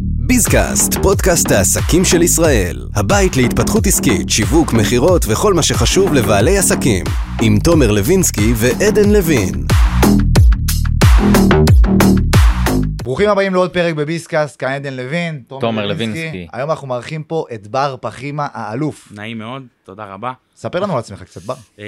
ביזקאסט, פודקאסט העסקים של ישראל. הבית להתפתחות עסקית, שיווק, מכירות וכל מה שחשוב לבעלי עסקים. עם תומר לוינסקי ועדן לוין. ברוכים הבאים לעוד פרק בביסקאסט, כאן עדן לוין, תומר לוינסקי. היום אנחנו מארחים פה את בר פחימה האלוף. נעים מאוד, תודה רבה. ספר לנו על עצמך קצת, בר. אה,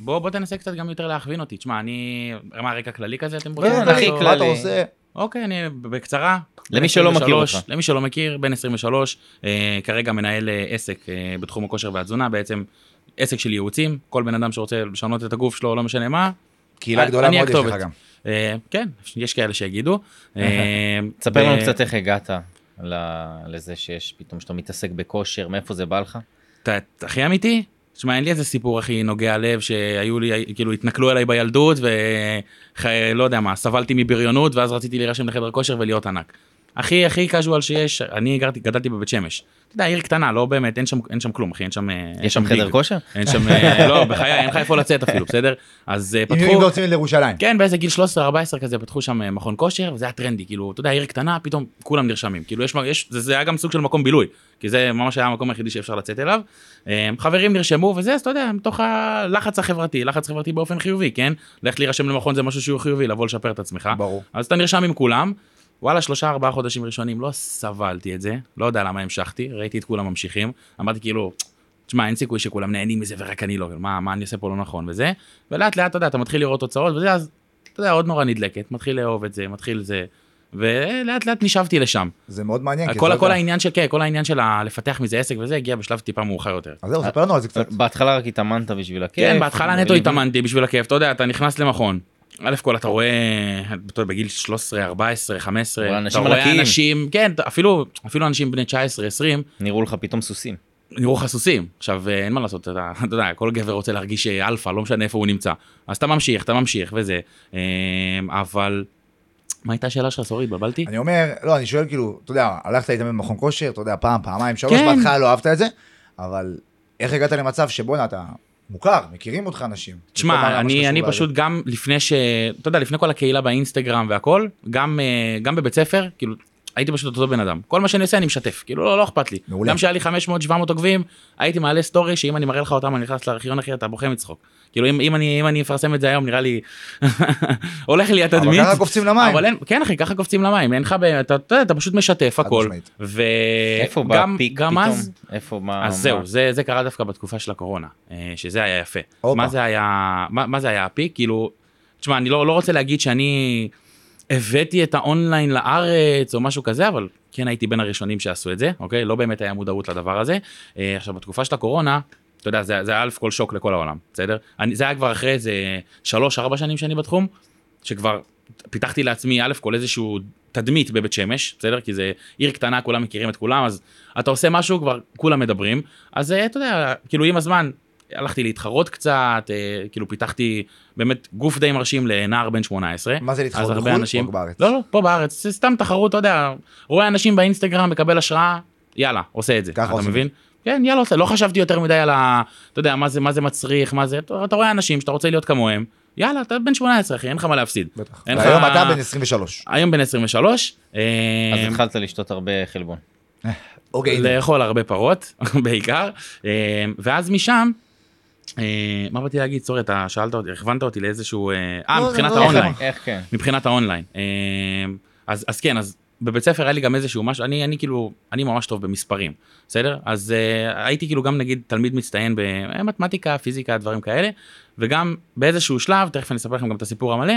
בוא, בוא תנסה קצת גם יותר להכווין אותי. תשמע, אני... מה, רקע כללי כזה אתם כן, רוצים? אחי, לעשות? מה כללי. אתה עושה? אוקיי, אני בקצרה. למי בן שלא מכיר 23, אותך. למי שלא מכיר, בן 23, אה, כרגע מנהל אה, עסק אה, בתחום הכושר והתזונה, בעצם עסק של ייעוצים. כל בן אדם שרוצה לשנות את הגוף שלו, לא משנה מה. קהילה אני- גדולה אני מאוד יש לך הכתובת. גם. אה, כן, יש כאלה שיגידו. אה, תספר ב- לנו קצת איך הגעת ל- לזה שיש פתאום שאתה מתעסק בכושר, מאיפה זה בא לך? אתה אתה הכי אמיתי? תשמע, אין לי איזה סיפור הכי נוגע לב שהיו לי, כאילו התנכלו אליי בילדות ולא יודע מה, סבלתי מבריונות ואז רציתי להירשם לחדר כושר ולהיות ענק. הכי הכי קאז'ואל שיש, אני גרתי, גדלתי בבית שמש. אתה יודע, עיר קטנה, לא באמת, אין שם, אין שם כלום, אחי, אין שם... אה, אין יש שם חדר ביג. כושר? אין שם, אה, לא, בחיי, אין לך איפה לצאת אפילו, בסדר? אז אה, אם פתחו... אם לא יוצאים לירושלים. כן, באיזה גיל 13-14 כזה פתחו שם אה, מכון כושר, וזה היה טרנדי, כאילו, אתה יודע, עיר קטנה, פתאום כולם נרשמים. כאילו, יש, יש, זה, זה היה גם סוג של מקום בילוי, כי זה ממש היה המקום היחידי שאפשר לצאת אליו. אה, חברים נרשמו וזה, אז אתה יודע, מתוך הלחץ החברתי, לחץ חברתי באופן חיובי, כן? ללכת להירשם למכון זה משהו שהוא חיובי, לבוא לשפר את עצמך. אה? ברור. אז אתה נרשם עם כולם. וואלה, שלושה ארבעה חודשים ראשונים לא סבלתי את זה, לא יודע למה המשכתי, ראיתי את כולם ממשיכים, אמרתי כאילו, תשמע, אין סיכוי שכולם נהנים מזה ורק אני לא, מה, מה אני עושה פה לא נכון וזה, ולאט לאט, אתה יודע, אתה מתחיל לראות תוצאות וזה, אז אתה יודע, עוד נורא נדלקת, מתחיל לאהוב את זה, מתחיל זה, ולאט לאט נשאבתי לשם. זה מאוד מעניין. כי כל, זה כל לא- העניין של, כן, כל העניין של ה- לפתח מזה עסק וזה, הגיע בשלב טיפה מאוחר יותר. אז זהו, ספר לנו על זה אה? קצת. בהתחלה רק התאמנת בשביל הכיף. כן, בהתחלה נטו ליווי. התאמנתי בשביל הכיף, אתה יודע, אתה נכנס למכון. א' כל אתה רואה, אתה יודע, בגיל 13, 14, 15, אבל אתה אנשים רואה ענקיים. אנשים, כן, אתה- אפילו אפילו אנשים בני 19, 20, נראו לך פתאום סוסים. נראו לך סוסים. עכשיו, אה, אין מה לעשות, אתה אתה יודע, כל גבר רוצה להרגיש אה, אלפא, לא משנה איפה הוא נמצא. אז אתה ממשיך, אתה ממשיך וזה. אה, אבל, מה הייתה השאלה שלך, סורי, התבלבלתי? אני אומר, לא, אני שואל כאילו, אתה יודע, הלכת להתאמן במכון כושר, אתה יודע, פעם, פעמיים, שלוש, כן. בהתחלה לא אהבת את זה, אבל איך הגעת למצב שבואנה, אתה מוכר, מכירים אותך אנשים. כל תשמע, מה שקשור אני, אני לזה. פשוט גם לפני ש... אתה יודע, לפני כל הקהילה באינסטגרם והכל, גם, אה, גם בבית ספר, כאילו, הייתי פשוט אותו בן אדם. כל מה שאני עושה אני משתף, כאילו, לא, לא אכפת לי. מעולה. גם שהיה לי 500-700 עוקבים, הייתי מעלה סטורי שאם אני מראה לך אותם, אני נכנס לארכיון אחי, אתה בוכה מצחוק. כאילו, אם, אם, אני, אם אני אפרסם את זה היום, נראה לי... הולך לי התדמית. אבל ככה קופצים למים. אבל אין, כן אחי, ככה קופצים למים, אין לך, ב- אתה אתה יודע, אתה פשוט משתף הכל. משמעית. ו... איפה בא אה, גם- הפיק גם פתאום? אז, איפה מה... אז מה- זהו, זה, זה קרה דווקא בתקופה של הקורונה, אה, שזה היה יפה. הופה. מה זה היה, מה, מה זה היה הפיק? כאילו, תשמע, אני לא, לא רוצה להגיד שאני הבאתי את האונליין לארץ או משהו כזה, אבל כן הייתי בין הראשונים שעשו את זה, אוקיי? לא באמת היה מודעות לדבר הזה. אה, עכשיו, בתקופה של הקורונה, אתה יודע, זה, זה היה אלף כל שוק לכל העולם, בסדר? אני, זה היה כבר אחרי איזה שלוש-ארבע שנים שאני בתחום, שכבר פיתחתי לעצמי א' כל איזשהו תדמית בבית שמש, בסדר? כי זה עיר קטנה, כולם מכירים את כולם, אז אתה עושה משהו, כבר כולם מדברים. אז אה, אתה יודע, כאילו עם הזמן, הלכתי להתחרות קצת, אה, כאילו פיתחתי באמת גוף די מרשים לנער בן 18. מה זה להתחרות אז הרבה בחו"ל אנשים- או בארץ? לא, לא, פה בארץ, זה סתם תחרות, אתה יודע, רואה אנשים באינסטגרם, מקבל השראה, יאללה, עושה את זה. ככה אתה עושים. מבין? כן, יאללה, עושה. לא חשבתי יותר מדי על ה... אתה יודע, מה זה, מה זה מצריך, מה זה... אתה אתה רואה אנשים שאתה רוצה להיות כמוהם, יאללה, אתה בן 18, אחי, אין לך מה להפסיד. בטח. אין לך- והיום אתה בן 23. היום בן 23, אה, אז התחלת לשתות הרבה חלבון. אוקיי, הנה. לאכול הרבה פרות, בעיקר, אה, ואז משם... אה, מה באתי להגיד? סורי, אתה שאלת אותי, הכוונת אותי לאיזשהו... אה, לא, אה, לא, מבחינת לא, לא. האונליין. איך כן? מבחינת האונליין. אה, אז, אז כן, אז בבית ספר היה לי גם איזשהו משהו, אני, אני כאילו, אני ממש טוב במספרים, בסדר? אז אה, הייתי כאילו גם נגיד תלמיד מצטיין במתמטיקה, פיזיקה, דברים כאלה, וגם באיזשהו שלב, תכף אני אספר לכם גם את הסיפור המלא,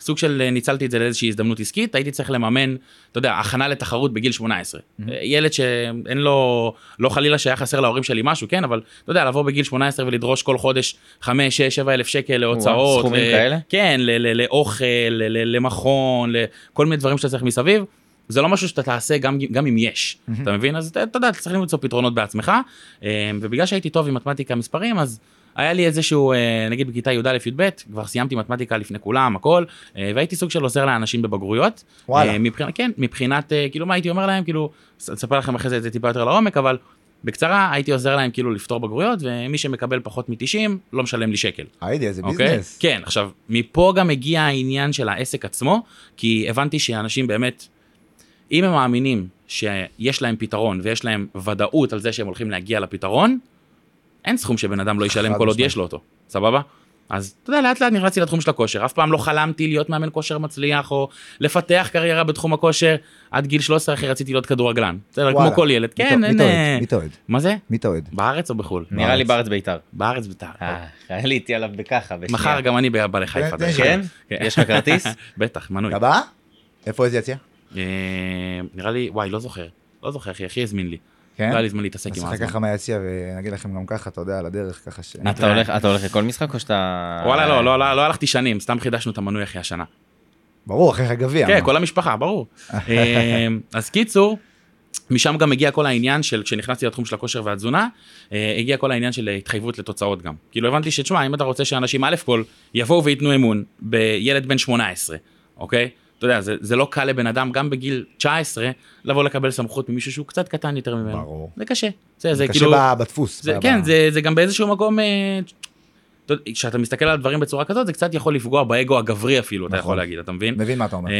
סוג של אה, ניצלתי את זה לאיזושהי הזדמנות עסקית, הייתי צריך לממן, אתה יודע, הכנה לתחרות בגיל 18. Mm-hmm. אה, ילד שאין לו, לא חלילה שהיה חסר להורים שלי משהו, כן, אבל אתה יודע, לבוא בגיל 18 ולדרוש כל חודש 5, 6, 7 אלף שקל להוצאות. סכומים ל- כאלה? כן, ל- ל- לאוכל, ל- ל- למכון, לכל מיני דברים שאתה צריך מסביב. זה לא משהו שאתה תעשה גם, גם אם יש, מהמם. אתה מבין? אז אתה אתה יודע, אתה צריך למצוא פתרונות בעצמך, אה, ובגלל שהייתי טוב עם מתמטיקה מספרים, אז היה לי איזשהו, אה, נגיד בכיתה י"א-י"ב, כבר סיימתי מתמטיקה לפני כולם, הכל, אה, והייתי סוג של עוזר לאנשים בבגרויות. וואלה. אה, מבחינת, כן, מבחינת, אה, כאילו, מה הייתי אומר להם, כאילו, ס- אספר לכם אחרי זה את זה טיפה יותר לעומק, אבל בקצרה, הייתי עוזר להם כאילו לפתור בגרויות, ומי שמקבל פחות מ-90, לא משלם לי שקל. היידי, איזה אוקיי? ביזנס. כן, עכשיו, מפה גם הגיע העניין של העסק עצמו, כי הבנתי שאנשים באמת אם הם מאמינים שיש להם פתרון ויש להם ודאות על זה שהם הולכים להגיע לפתרון, אין סכום שבן אדם לא ישלם חד כל עוד משמעית. יש לו אותו, סבבה? אז אתה יודע, לאט לאט נכנסתי לתחום של הכושר, אף פעם לא חלמתי להיות מאמן כושר מצליח או לפתח קריירה בתחום הכושר, עד גיל 13 אחי רציתי להיות כדורגלן, בסדר, כמו וואלה. כל ילד, כן, מי אין... אתה אוהד? אה, מי אתה אוהד? מה זה? מי אתה אוהד? בארץ או בחו"ל? נראה לי בארץ בית"ר. בארץ בית"ר. אה, עליתי עליו בככה. בשנייה. מחר גם אני בא לחיפה. תן דרך לי. אגב. כן? כן. יש לך כרטיס? בטח, מנוי. אתה בא? איפה איזה יציע? כן. אה, נראה לי, וואי, לא זוכר. לא זוכר, אחי, אחי הזמין לי. כן? לא היה לי זמן להתעסק עם נשחק הזמן. ככה מהיציע ונגיד לכם גם ככה, אתה יודע, על הדרך ככה ש... אתה הולך- אתה הולך לכל משחק או שאתה... וואלה, לא, לא, לא, לא הלכתי שנים, סתם חידשנו את המנוי אחי השנה. ברור, אחרי הגביע. כן, מה? כל המשפחה, ברור. אה, אז קיצור, משם גם הגיע כל העניין של, כשנכנסתי לתחום של הכושר והתזונה, אה, הגיע כל העניין של התחייבות לתוצאות גם. כאילו הבנתי שתשמע, אם אתה רוצה שאנשים, א' כל, יבואו וייתנו אמון בילד בן 18, אוקיי? אתה יודע, זה, זה לא קל לבן אדם, גם בגיל 19, לבוא לקבל סמכות ממישהו שהוא קצת קטן יותר ממנו. ברור. זה קשה. זה, זה זה כאילו... קשה ב- בדפוס. זה, ב- כן, ב- זה, זה גם באיזשהו מקום, אה, אתה יודע, כשאתה מסתכל על דברים בצורה כזאת, זה קצת יכול לפגוע באגו הגברי אפילו, אתה נכון. יכול להגיד, אתה מבין? מבין מה אתה אומר. אה,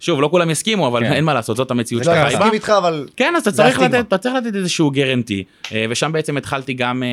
שוב, לא כולם יסכימו, אבל כן. אין מה לעשות, זאת המציאות לא, שאתה אני חי בה. מסכים איתך, אבל... כן, אז אתה זה צריך הסטיגמה. לתת, אתה צריך לתת איזשהו גרנטי, אה, ושם בעצם התחלתי גם, אה,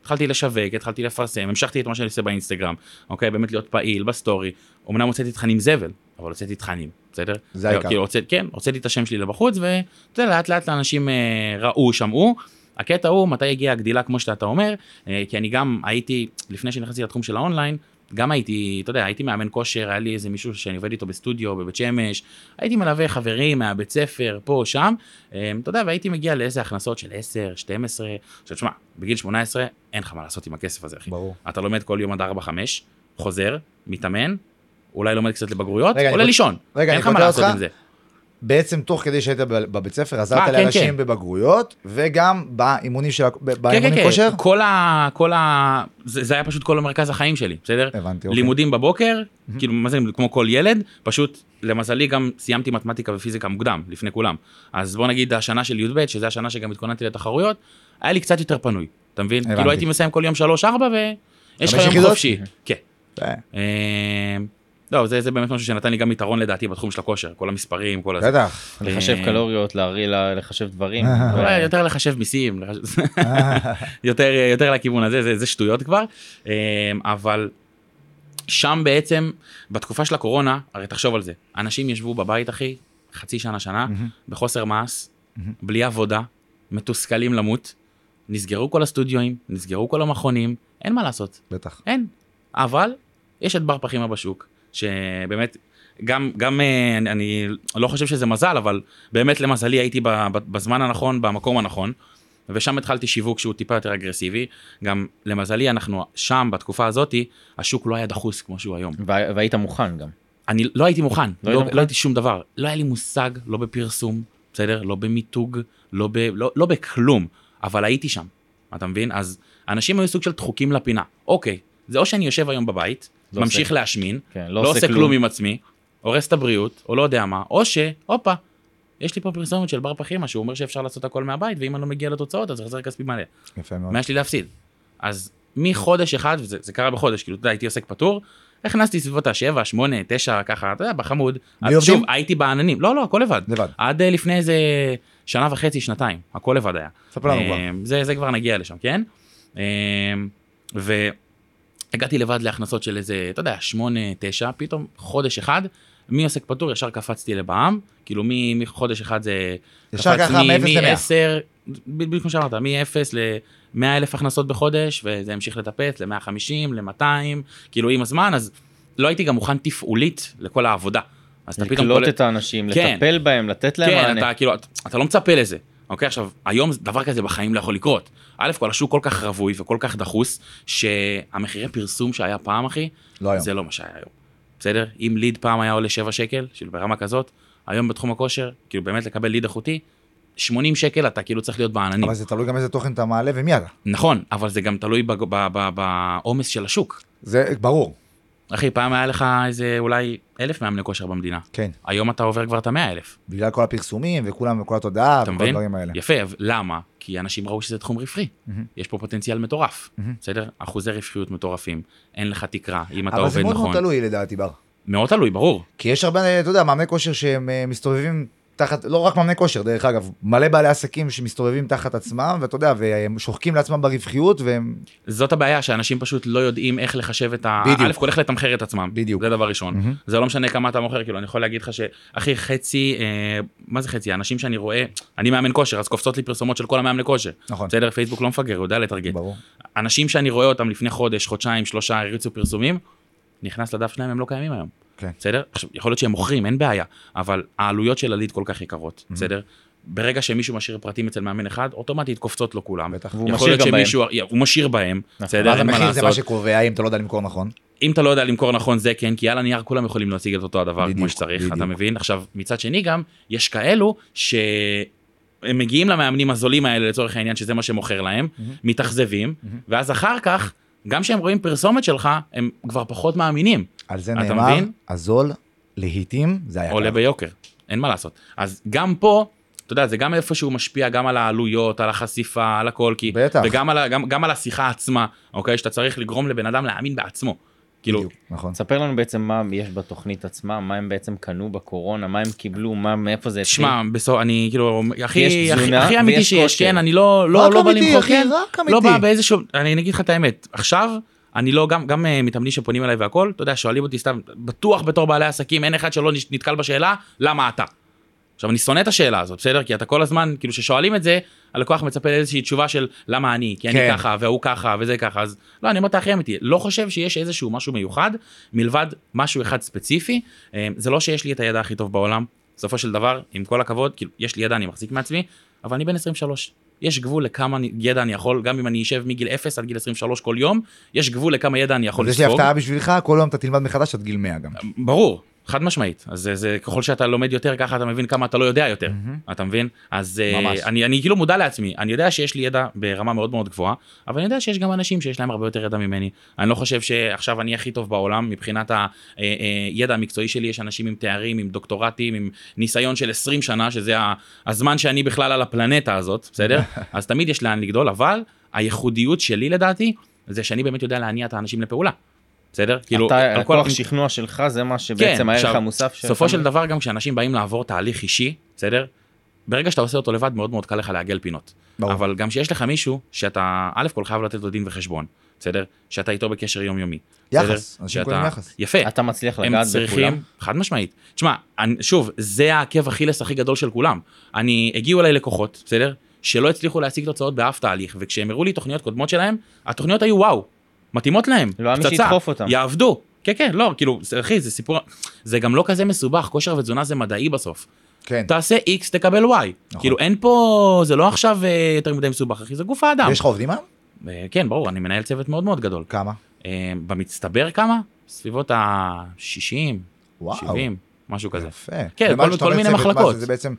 התחלתי לשווק, התחלתי לפרסם, המשכתי את מה שאני עושה באינסטגרם, אוקיי? באמת להיות פעיל בסטורי. אמנם הוצאתי תכנים זבל, אבל הוצאתי תכנים, בסדר? זה העיקר. כאילו, הוצא, כן, הוצאתי את השם שלי לבחוץ, ואתה יודע, לאט לאט אנשים אה, ראו, שמעו. הקטע הוא מתי הגיעה הגדילה כמו שאתה אומר, אה, כי אני גם הייתי, לפני שנכנסתי לתחום של האונליין, גם הייתי, אתה יודע, הייתי מאמן כושר, היה לי איזה מישהו שאני עובד איתו בסטודיו בבית שמש, הייתי מלווה חברים מהבית ספר, פה, שם, אה, אתה יודע, והייתי מגיע לאיזה הכנסות של 10, 12, עכשיו תשמע, בגיל 18 אין לך מה לעשות עם הכסף הזה, אחי. ברור. אתה לומד כל יום עד 4-5, חוזר, מתאמן, אולי לומד קצת לבגרויות, רגע, אני עולה קוט- לישון. רגע, אני אין לך מה קוטע לעשות אותך. עם זה. בעצם תוך כדי שהיית ב- בבית ספר אה, עזרת כן, לאנשים כן. בבגרויות, וגם באימונים של... ה- ב- כן, כן, באימונים כן, כושר? כל ה... כל ה... זה, זה היה פשוט כל מרכז החיים שלי, בסדר? הבנתי, אוקיי. לימודים בבוקר, כאילו, מה זה, כמו כל ילד, פשוט, למזלי גם סיימתי מתמטיקה ופיזיקה מוקדם, לפני כולם. אז בוא נגיד, השנה של י"ב, שזו השנה שגם התכוננתי לתחרויות, היה לי קצת יותר פנוי, אתה מבין? הבנתי. כאילו הייתי מסיים כל יום 3-4 ויש לך חמש יום יחידות? חופשי. כן. אה, אה, לא, זה, זה באמת משהו שנתן לי גם יתרון לדעתי בתחום של הכושר, כל המספרים, כל הזה. בטח. לחשב אה, קלוריות, להרי- ל- לחשב דברים. אה. אולי יותר לחשב מיסים, לחש- יותר, יותר לכיוון הזה, זה, זה שטויות כבר, אמ, אבל שם בעצם, בתקופה של הקורונה, הרי תחשוב על זה, אנשים ישבו בבית, אחי, חצי שנה, שנה, מהמם. בחוסר מעש, מהמם. בלי עבודה, מתוסכלים למות, נסגרו כל הסטודיואים, נסגרו כל המכונים, אין מה לעשות, בטח. אין. אבל יש את בר פחימה בשוק, שבאמת, גם, גם אה, אני, אני לא חושב שזה מזל, אבל באמת למזלי הייתי ב- ב- בזמן הנכון, במקום הנכון, ושם התחלתי שיווק שהוא טיפה יותר אגרסיבי. גם למזלי אנחנו שם, בתקופה הזאתי, השוק לא היה דחוס כמו שהוא היום. וה- והיית מוכן גם. אני לא הייתי מוכן, לא לא, היית לא, מוכן? לא הייתי שום דבר. לא היה לי מושג, לא בפרסום, בסדר? לא במיתוג, לא, ב, לא, לא בכלום, אבל הייתי שם, אתה מבין? אז אנשים היו סוג של דחוקים לפינה. אוקיי, זה או שאני יושב היום בבית, לא לא ממשיך עושה. להשמין, כן, לא, לא עושה כלום עם עצמי, הורס את הבריאות, או לא יודע מה, או ש, הופה, יש לי פה פרסומת של בר פחימה, שהוא אומר שאפשר לעשות הכל מהבית, ואם אני לא מגיע לתוצאות, אז החזר כספי מלא. יפה מאוד. מה יש לי להפסיד? אז מחודש אחד, וזה זה קרה בחודש, כאילו, אתה יודע, הייתי עוסק פטור, הכנסתי סביבות ה-7, 8, 9, ככה, אתה יודע, בחמוד. בלי אז שוב, עובדים? הייתי בעננים, לא, לא, הכל לבד. לבד. עד אה, לפני איזה שנה וחצי, שנתיים, הכל לבד היה. ספר לנו כבר. אה, זה, זה כבר נגיע לשם, כן? אה, והגעתי לבד להכנסות של איזה, אתה יודע, שמונה, תשע, פתאום חודש אחד, מעוסק פטור ישר קפצתי לבע"מ, כאילו מ- מחודש אחד זה... ישר קפץ ככה, מ- מאפס למאה. מ-10, בדיוק כמו שאמרת, מ-0 ל-100 אלף הכנסות בחודש, וזה המשיך לטפס ל-150, ל-200, כאילו עם הזמן, אז לא הייתי גם מוכן תפעולית לכל העבודה. אז אתה פתאום... לקלוט קולט- את האנשים, כן. לטפל בהם, לתת להם כן, מענה. אתה כאילו, אתה- אתה לא מצפה לזה. אוקיי, עכשיו, היום דבר כזה בחיים לא יכול לקרות. א' כל השוק כל כך רווי וכל כך דחוס, שהמחירי פרסום שהיה פעם, אחי, לא היום. זה לא מה שהיה היום. בסדר? אם ליד פעם היה עולה 7 שקל, כאילו ברמה כזאת, היום בתחום הכושר, כאילו באמת לקבל ליד איכותי, 80 שקל אתה כאילו צריך להיות בעננים. אבל זה תלוי גם איזה תוכן אתה מעלה ומי אתה. נכון, אבל זה גם תלוי בג- ב- ב- בעומס של השוק. זה ברור. אחי, פעם היה לך איזה אולי אלף מאמני כושר במדינה. כן. היום אתה עובר כבר את המאה אלף. בגלל כל הפרסומים וכולם וכל התודעה אתה וכל מבין? הדברים האלה. יפה, אבל למה? כי אנשים ראו שזה תחום רווחי. יש פה פוטנציאל מטורף, בסדר? אחוזי רווחיות מטורפים, אין לך תקרה, אם אתה אבל זה עובד מאוד מאוד נכון. תלוי לדעתי בר. מאוד תלוי, ברור. כי יש הרבה, אתה יודע, מאמני כושר שהם אה, מסתובבים תחת, לא רק מאמני כושר, דרך אגב, מלא בעלי עסקים שמסתובבים תחת עצמם, ואתה יודע, והם שוחקים לעצמם ברווחיות, והם... זאת הבעיה שאנשים פשוט לא יודעים איך לחשב את ה... בדיוק. א' כל איך לתמחר את עצמם. בדיוק. זה דבר ראשון. מהמם. זה לא משנה כמה אתה מוכר, כאילו אני יכול להגיד לך שאחי חצי, אה, מה זה חצי? האנשים שאני רואה, אני מאמן כושר, אז קופצות לי פרסומות של כל המאמני כושר. נכון, בסדר, פייסבוק לא מפגר, הוא יודע לטרגט. ברור. אנשים שאני רואה אותם לפני חודש, חודשיים, שלושה, הריצו פרסומים, נכנס לדף שלהם, הם לא קיימים היום. כן. בסדר? עכשיו, יכול להיות שהם מוכרים, אין בעיה, אבל העלויות של הליד כל כך יקרות, Mm-hmm. בסדר? ברגע שמישהו משאיר פרטים אצל מאמן אחד, אוטומטית קופצות לו כולם. בטח. והוא יכול משאיר להיות גם בהם. שמישהו, הוא משאיר בהם, בסדר? ואז אין מה נכון. המחיר זה מה לעשות. שקובע, אם אתה לא יודע למכור נכון. אם אתה לא יודע למכור נכון זה כן, כי על הנייר כולם יכולים להשיג את אותו הדבר בדיוק, כמו שצריך, אתה בדיוק. מבין? עכשיו, מצד שני גם, יש כאלו ש... הם מגיעים למאמנים הזולים האלה לצורך העניין שזה מה שמוכר להם, מתאכזבים, ואז אחר כך, גם כשהם רואים פרסומת שלך, הם כבר פחות מאמינים, על זה אתה נאמר, מבין? הזול, להיטים, זה היה עולה ככה. ביוקר, אין מה לעשות. אז גם פה, אתה יודע, זה גם איפשהו משפיע גם על העלויות, על החשיפה, על הכל, כי... בטח. וגם על, ה- גם, גם על השיחה עצמה, אוקיי? שאתה צריך לגרום לבן אדם להאמין בעצמו. כאילו, בדיוק, נכון. ספר לנו בעצם מה יש בתוכנית עצמה, מה הם בעצם קנו בקורונה, מה הם קיבלו, מה, מאיפה זה התחיל. שמע, בסוף, אני כאילו, הכי, יש הכי, תזונה הכי אמיתי ויש שיש, כושר. כן, אני לא, לא, רק לא בא אמיתי, למחוק, אחי, כן, רק לא אמיתי. בא באיזשהו, אני אני אגיד לך את האמת, עכשיו, אני לא, גם, גם אה, מתאמנים שפונים אליי והכל, אתה יודע, שואלים אותי סתם, בטוח בתור בעלי עסקים, אין אחד שלא נש- נתקל בשאלה, למה אתה? עכשיו, אני שונא את השאלה הזאת, בסדר? כי אתה כל הזמן, כאילו, כששואלים את זה, הלקוח מצפה לאיזושהי תשובה של למה אני, כי אני כן. ככה, והוא ככה, וזה ככה, אז לא, אני אומר את הכי אמיתי, לא חושב שיש איזשהו משהו מיוחד, מלבד משהו אחד ספציפי, אה, זה לא שיש לי את הידע הכי טוב בעולם, בסופו של דבר, עם כל הכבוד, כאילו, יש לי ידע, אני מחזיק מעצמי, אבל אני בן 23. יש גבול לכמה אני- ידע אני יכול, גם אם אני אשב מגיל 0 עד גיל 23 כל יום, יש גבול לכמה ידע אני יכול אז יש לי הפתעה בשבילך, כל יום אתה תלמד מחדש עד גיל 100 גם. ברור, חד משמעית. אז זה, זה ככל שאתה לומד יותר, ככה אתה מבין כמה אתה לא יודע יותר. אתה מבין? אז אה, ממש. אני, אני כאילו מודע לעצמי, אני יודע שיש לי ידע ברמה מאוד מאוד גבוהה, אבל אני יודע שיש גם אנשים שיש להם הרבה יותר ידע ממני. אני לא חושב שעכשיו אני הכי טוב בעולם, מבחינת הידע המקצועי שלי יש אנשים עם תארים, עם דוקטורטים, עם ניסיון של 20 שנה, שזה ה- הזמן שאני בכלל על הפלנטה הזאת, בסדר? אז תמיד יש לאן לגדול, אבל הייחודיות שלי לדעתי, זה שאני באמת יודע להניע את האנשים לפעולה. בסדר? כאילו, אתה, על כל- הכוח שכנוע שלך זה מה שבעצם הערך כן. עכשיו, המוסף שלך. בסופו של דבר גם כשאנשים באים לעבור תהליך אישי, בסדר? ברגע שאתה עושה אותו לבד מאוד מאוד קל לך לעגל פינות. ברור. אבל גם כשיש לך מישהו שאתה, א' כל חייב לתת לו דין וחשבון, בסדר? שאתה איתו בקשר יומיומי. בסדר? יחס, אנשים שאתה- קוראים יחס. יפה. אתה מצליח לגעת בכולם. הם צריכים, חד משמעית. תשמע, אני- שוב, זה העקב אכילס הכי גדול של כולם. אני, הגיעו אליי לקוחות, בסדר? שלא הצליחו להשיג תוצאות באף תהליך, וכשהם הראו לי תוכניות קודמות שלהם, התוכניות היו וואו, מתאימות להם, לא היה מי פצצה, שידחוף אותם. יעבדו. כן, כן, לא, כאילו, זה- אחי, זה סיפור, זה גם לא כזה מסובך, כושר ותזונה זה מדעי בסוף. כן. תעשה X, תקבל Y. נכון. כאילו, אין פה, זה לא עכשיו אה, יותר מדי מסובך, אחי, זה גוף האדם. יש לך עובדים היום? אה, כן, ברור, אני מנהל צוות מאוד מאוד גדול. כמה? אה, במצטבר כמה? סביבות ה-60, וואו. 70, משהו כזה. יפה. כן, ומה כל- שאתה כל אומר מיני צוות, מה זה? מחלקות. זה בעצם,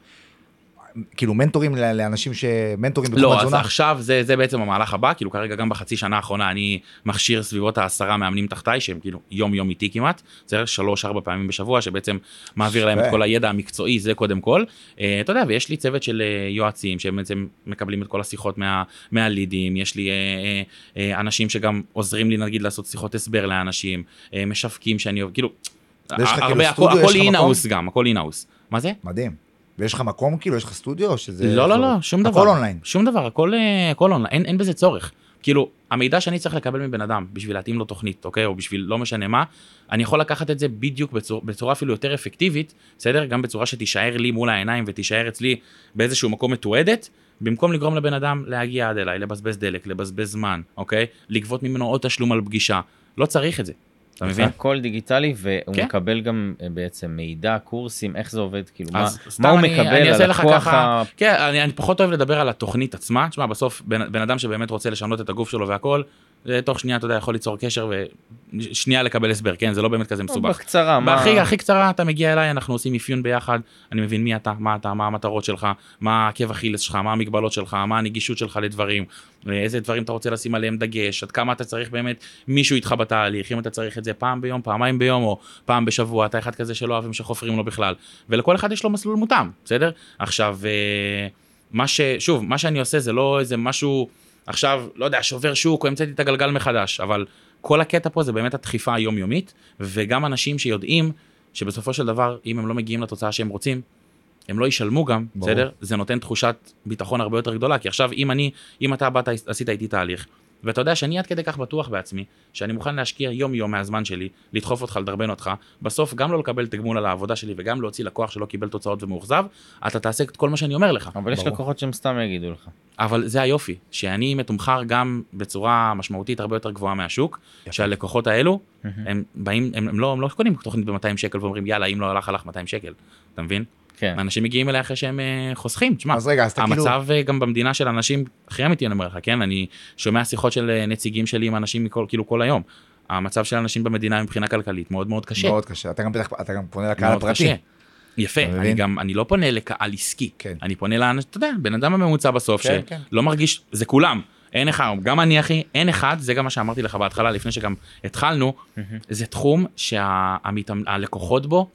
כאילו מנטורים ל- לאנשים ש... מנטורים בתחום לא, אז התזונה. עכשיו זה, זה בעצם המהלך הבא, כאילו כרגע גם בחצי שנה האחרונה אני מכשיר סביבות העשרה מאמנים תחתיי, שהם כאילו יום-יום איתי כמעט, צריך שלוש-ארבע פעמים בשבוע, שבעצם מעביר להם את יפה. כל הידע המקצועי, זה קודם כל. אה, אתה יודע, ויש לי צוות של אה, יועצים, שהם בעצם מקבלים את כל השיחות מה, מהלידים, יש לי אה, אה, אה, אנשים שגם עוזרים לי נגיד לעשות שיחות הסבר לאנשים, אה, משווקים שאני אוהב, כאילו, ויש לך כאילו הרבה, סטודיו, הכל, יש הכל לך אינהאוס גם, הכל אינהאוס. מה זה? מדהים. ויש לך מקום כאילו? יש לך סטודיו? או שזה... לא, לא, לא, שום דבר. הכל אונליין. שום דבר, הכל, אה, הכל אונליין, אין, אין בזה צורך. כאילו, המידע שאני צריך לקבל מבן אדם בשביל להתאים לו תוכנית, אוקיי? או בשביל לא משנה מה, אני יכול לקחת את זה בדיוק בצורה, בצורה אפילו יותר אפקטיבית, בסדר? גם בצורה שתישאר לי מול העיניים ותישאר אצלי באיזשהו מקום מתועדת, במקום לגרום לבן אדם להגיע עד אליי, לבזבז דלק, לבזבז זמן, אוקיי? לגבות ממנו עוד תשלום על פגישה. לא צריך את זה. אתה מבין? הכל דיגיטלי, והוא כן. מקבל גם אה, בעצם מידע, קורסים, איך זה עובד, כאילו, מה- אז סתם מה הוא אני- אני מקבל אעשה על לך הכוח ככה- ה... כן, אני, אני פחות אוהב לדבר על התוכנית עצמה. תשמע, בסוף בן, בן אדם שבאמת רוצה לשנות את הגוף שלו והכל, זה תוך שנייה, אתה יודע, יכול ליצור קשר ושנייה לקבל הסבר, כן? זה לא באמת כזה מסובך. בקצרה, מה... הכי הכי קצרה אתה מגיע אליי אנחנו עושים אפיון ביחד אני מבין מי אתה מה אתה מה המטרות שלך מה העקב אכילס שלך מה המגבלות שלך מה הנגישות שלך לדברים איזה דברים אתה רוצה לשים עליהם דגש עד כמה אתה צריך באמת מישהו איתך בתהליך אם אתה צריך את זה פעם ביום פעמיים ביום או פעם בשבוע אתה אחד כזה שלא אוהבים שחופרים לו בכלל ולכל אחד יש לו מסלול מותאם בסדר עכשיו אה, מה ששוב מה שאני עושה זה לא איזה משהו עכשיו לא יודע שובר שוק או המצאתי את הגלגל מחדש אבל כל הקטע פה זה באמת הדחיפה היומיומית וגם אנשים שיודעים שבסופו של דבר, אם הם לא מגיעים לתוצאה שהם רוצים, הם לא ישלמו גם, ברור. בסדר? זה נותן תחושת ביטחון הרבה יותר גדולה, כי עכשיו אם אני, אם אתה באת, עשית איתי תהליך, ואתה יודע שאני עד כדי כך בטוח בעצמי, שאני מוכן להשקיע יום-יום מהזמן שלי, לדחוף אותך, לדרבן אותך, בסוף גם לא לקבל תגמול על העבודה שלי וגם להוציא לקוח שלא קיבל תוצאות ומאוכזב, אתה תעשה את כל מה שאני אומר לך. אבל יש לקוחות שהם סתם יגידו לך. אבל זה היופי, שאני מתומחר גם בצורה משמעותית הרבה יותר גבוהה מהשוק, שהלקוחות האלו, הם באים, הם, הם, לא, הם לא קונים תוכנית ב-200 שקל ואומרים יאללה, אם לא הלך, הלך 200 שקל, אתה מבין? כן. אנשים מגיעים אליי אחרי שהם אה, חוסכים, תשמע, אז רגע, אז אתה כאילו... המצב אה, גם במדינה של אנשים, הכי אמיתי אני אומר לך, כן, אני שומע שיחות של אה, נציגים שלי עם אנשים מכל, כאילו כל היום. המצב של אנשים במדינה מבחינה כלכלית מאוד מאוד קשה. מאוד קשה. אתה גם בטח, אתה גם פונה לקהל מאוד הפרטי. קשה. יפה, אתה אני מבין? גם, אני לא פונה לקהל עסקי, כן. אני פונה לאנשים, אתה יודע, בן אדם הממוצע בסוף, כן, שלא כן. מרגיש, זה כולם, אין אחד, גם אני אחי, אין אחד, זה גם מה שאמרתי לך בהתחלה, לפני שגם התחלנו, זה תחום שהלקוחות בו,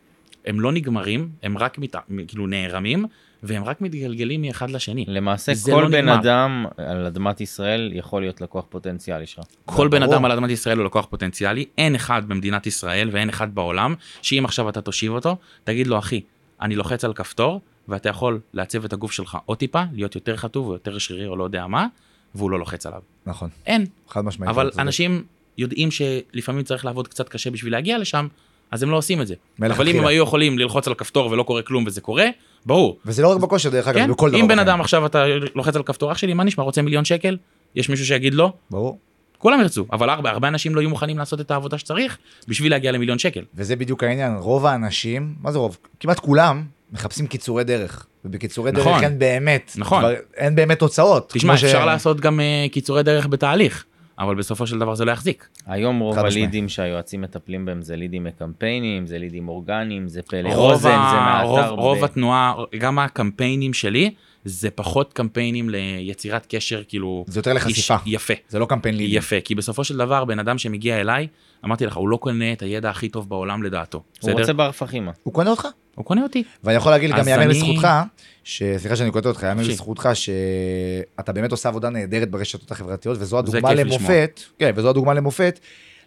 הם לא נגמרים, הם רק מת, כאילו נערמים, והם רק מתגלגלים מאחד לשני. למעשה זה כל לא בן נגמר. אדם על אדמת ישראל יכול להיות לקוח פוטנציאלי שלך. כל בן ברור. אדם על אדמת ישראל הוא לקוח פוטנציאלי, אין אחד במדינת ישראל ואין אחד בעולם, שאם עכשיו אתה תושיב אותו, תגיד לו, אחי, אני לוחץ על כפתור, ואתה יכול לעצב את הגוף שלך עוד טיפה, להיות יותר חטוב או יותר שרירי או לא יודע מה, והוא לא לוחץ עליו. נכון, אין, חד משמעית. אבל אתה לא צודק. אנשים יודעים שלפעמים צריך לעבוד קצת קשה בשביל להגיע לשם, אז הם לא עושים את זה. אבל מלכתחילה. אם הם היו יכולים ללחוץ על כפתור ולא קורה כלום וזה קורה, ברור, וזה לא רק בכושר, דרך אגב, כן? בכל דבר. אם בן בחיים. אדם עכשיו אתה לוחץ על כפתור, אח שלי, מה נשמע, רוצה מיליון שקל? יש מישהו שיגיד לא? ברור. כולם ירצו, אבל הרבה, הרבה אנשים לא יהיו מוכנים לעשות את העבודה שצריך בשביל להגיע למיליון שקל. וזה בדיוק העניין, רוב האנשים, מה זה רוב? כמעט כולם מחפשים קיצורי דרך. ובקיצורי דרך נכון. אין באמת, נכון. דבר- אין באמת תוצאות. תשמע, כמו ש... אפשר לעשות גם uh, קיצורי דרך בתהליך, אבל בסופו של דבר זה לא יחזיק. היום רוב חד משמעית. הלידים שהיועצים מטפלים בהם זה לידים מקמפיינים, זה לידים אורגניים, זה פלא רוב רוזן, זה ה- מהאתר. רוב, רוב ב- התנועה, גם הקמפיינים שלי, זה פחות קמפיינים ליצירת קשר, כאילו... זה יותר לחשיפה. איש- יפה. זה לא קמפיין לידי. יפה, כי בסופו של דבר, בן אדם שמגיע אליי, אמרתי לך, הוא לא קונה את הידע הכי טוב בעולם לדעתו. הוא בסדר? רוצה ברף החימה. הוא קונה אותך. הוא קונה אותי. ואני יכול להגיד גם אז יאמן אני- לזכותך, ש- סליחה שאני קוטע אותך, יאמן חופשי. לזכותך שאתה באמת עושה עבודה נהדרת ברשתות החברתיות, וזו הדוגמה כיף לשמוע. למופת, כן, וזו הדוגמה למופת,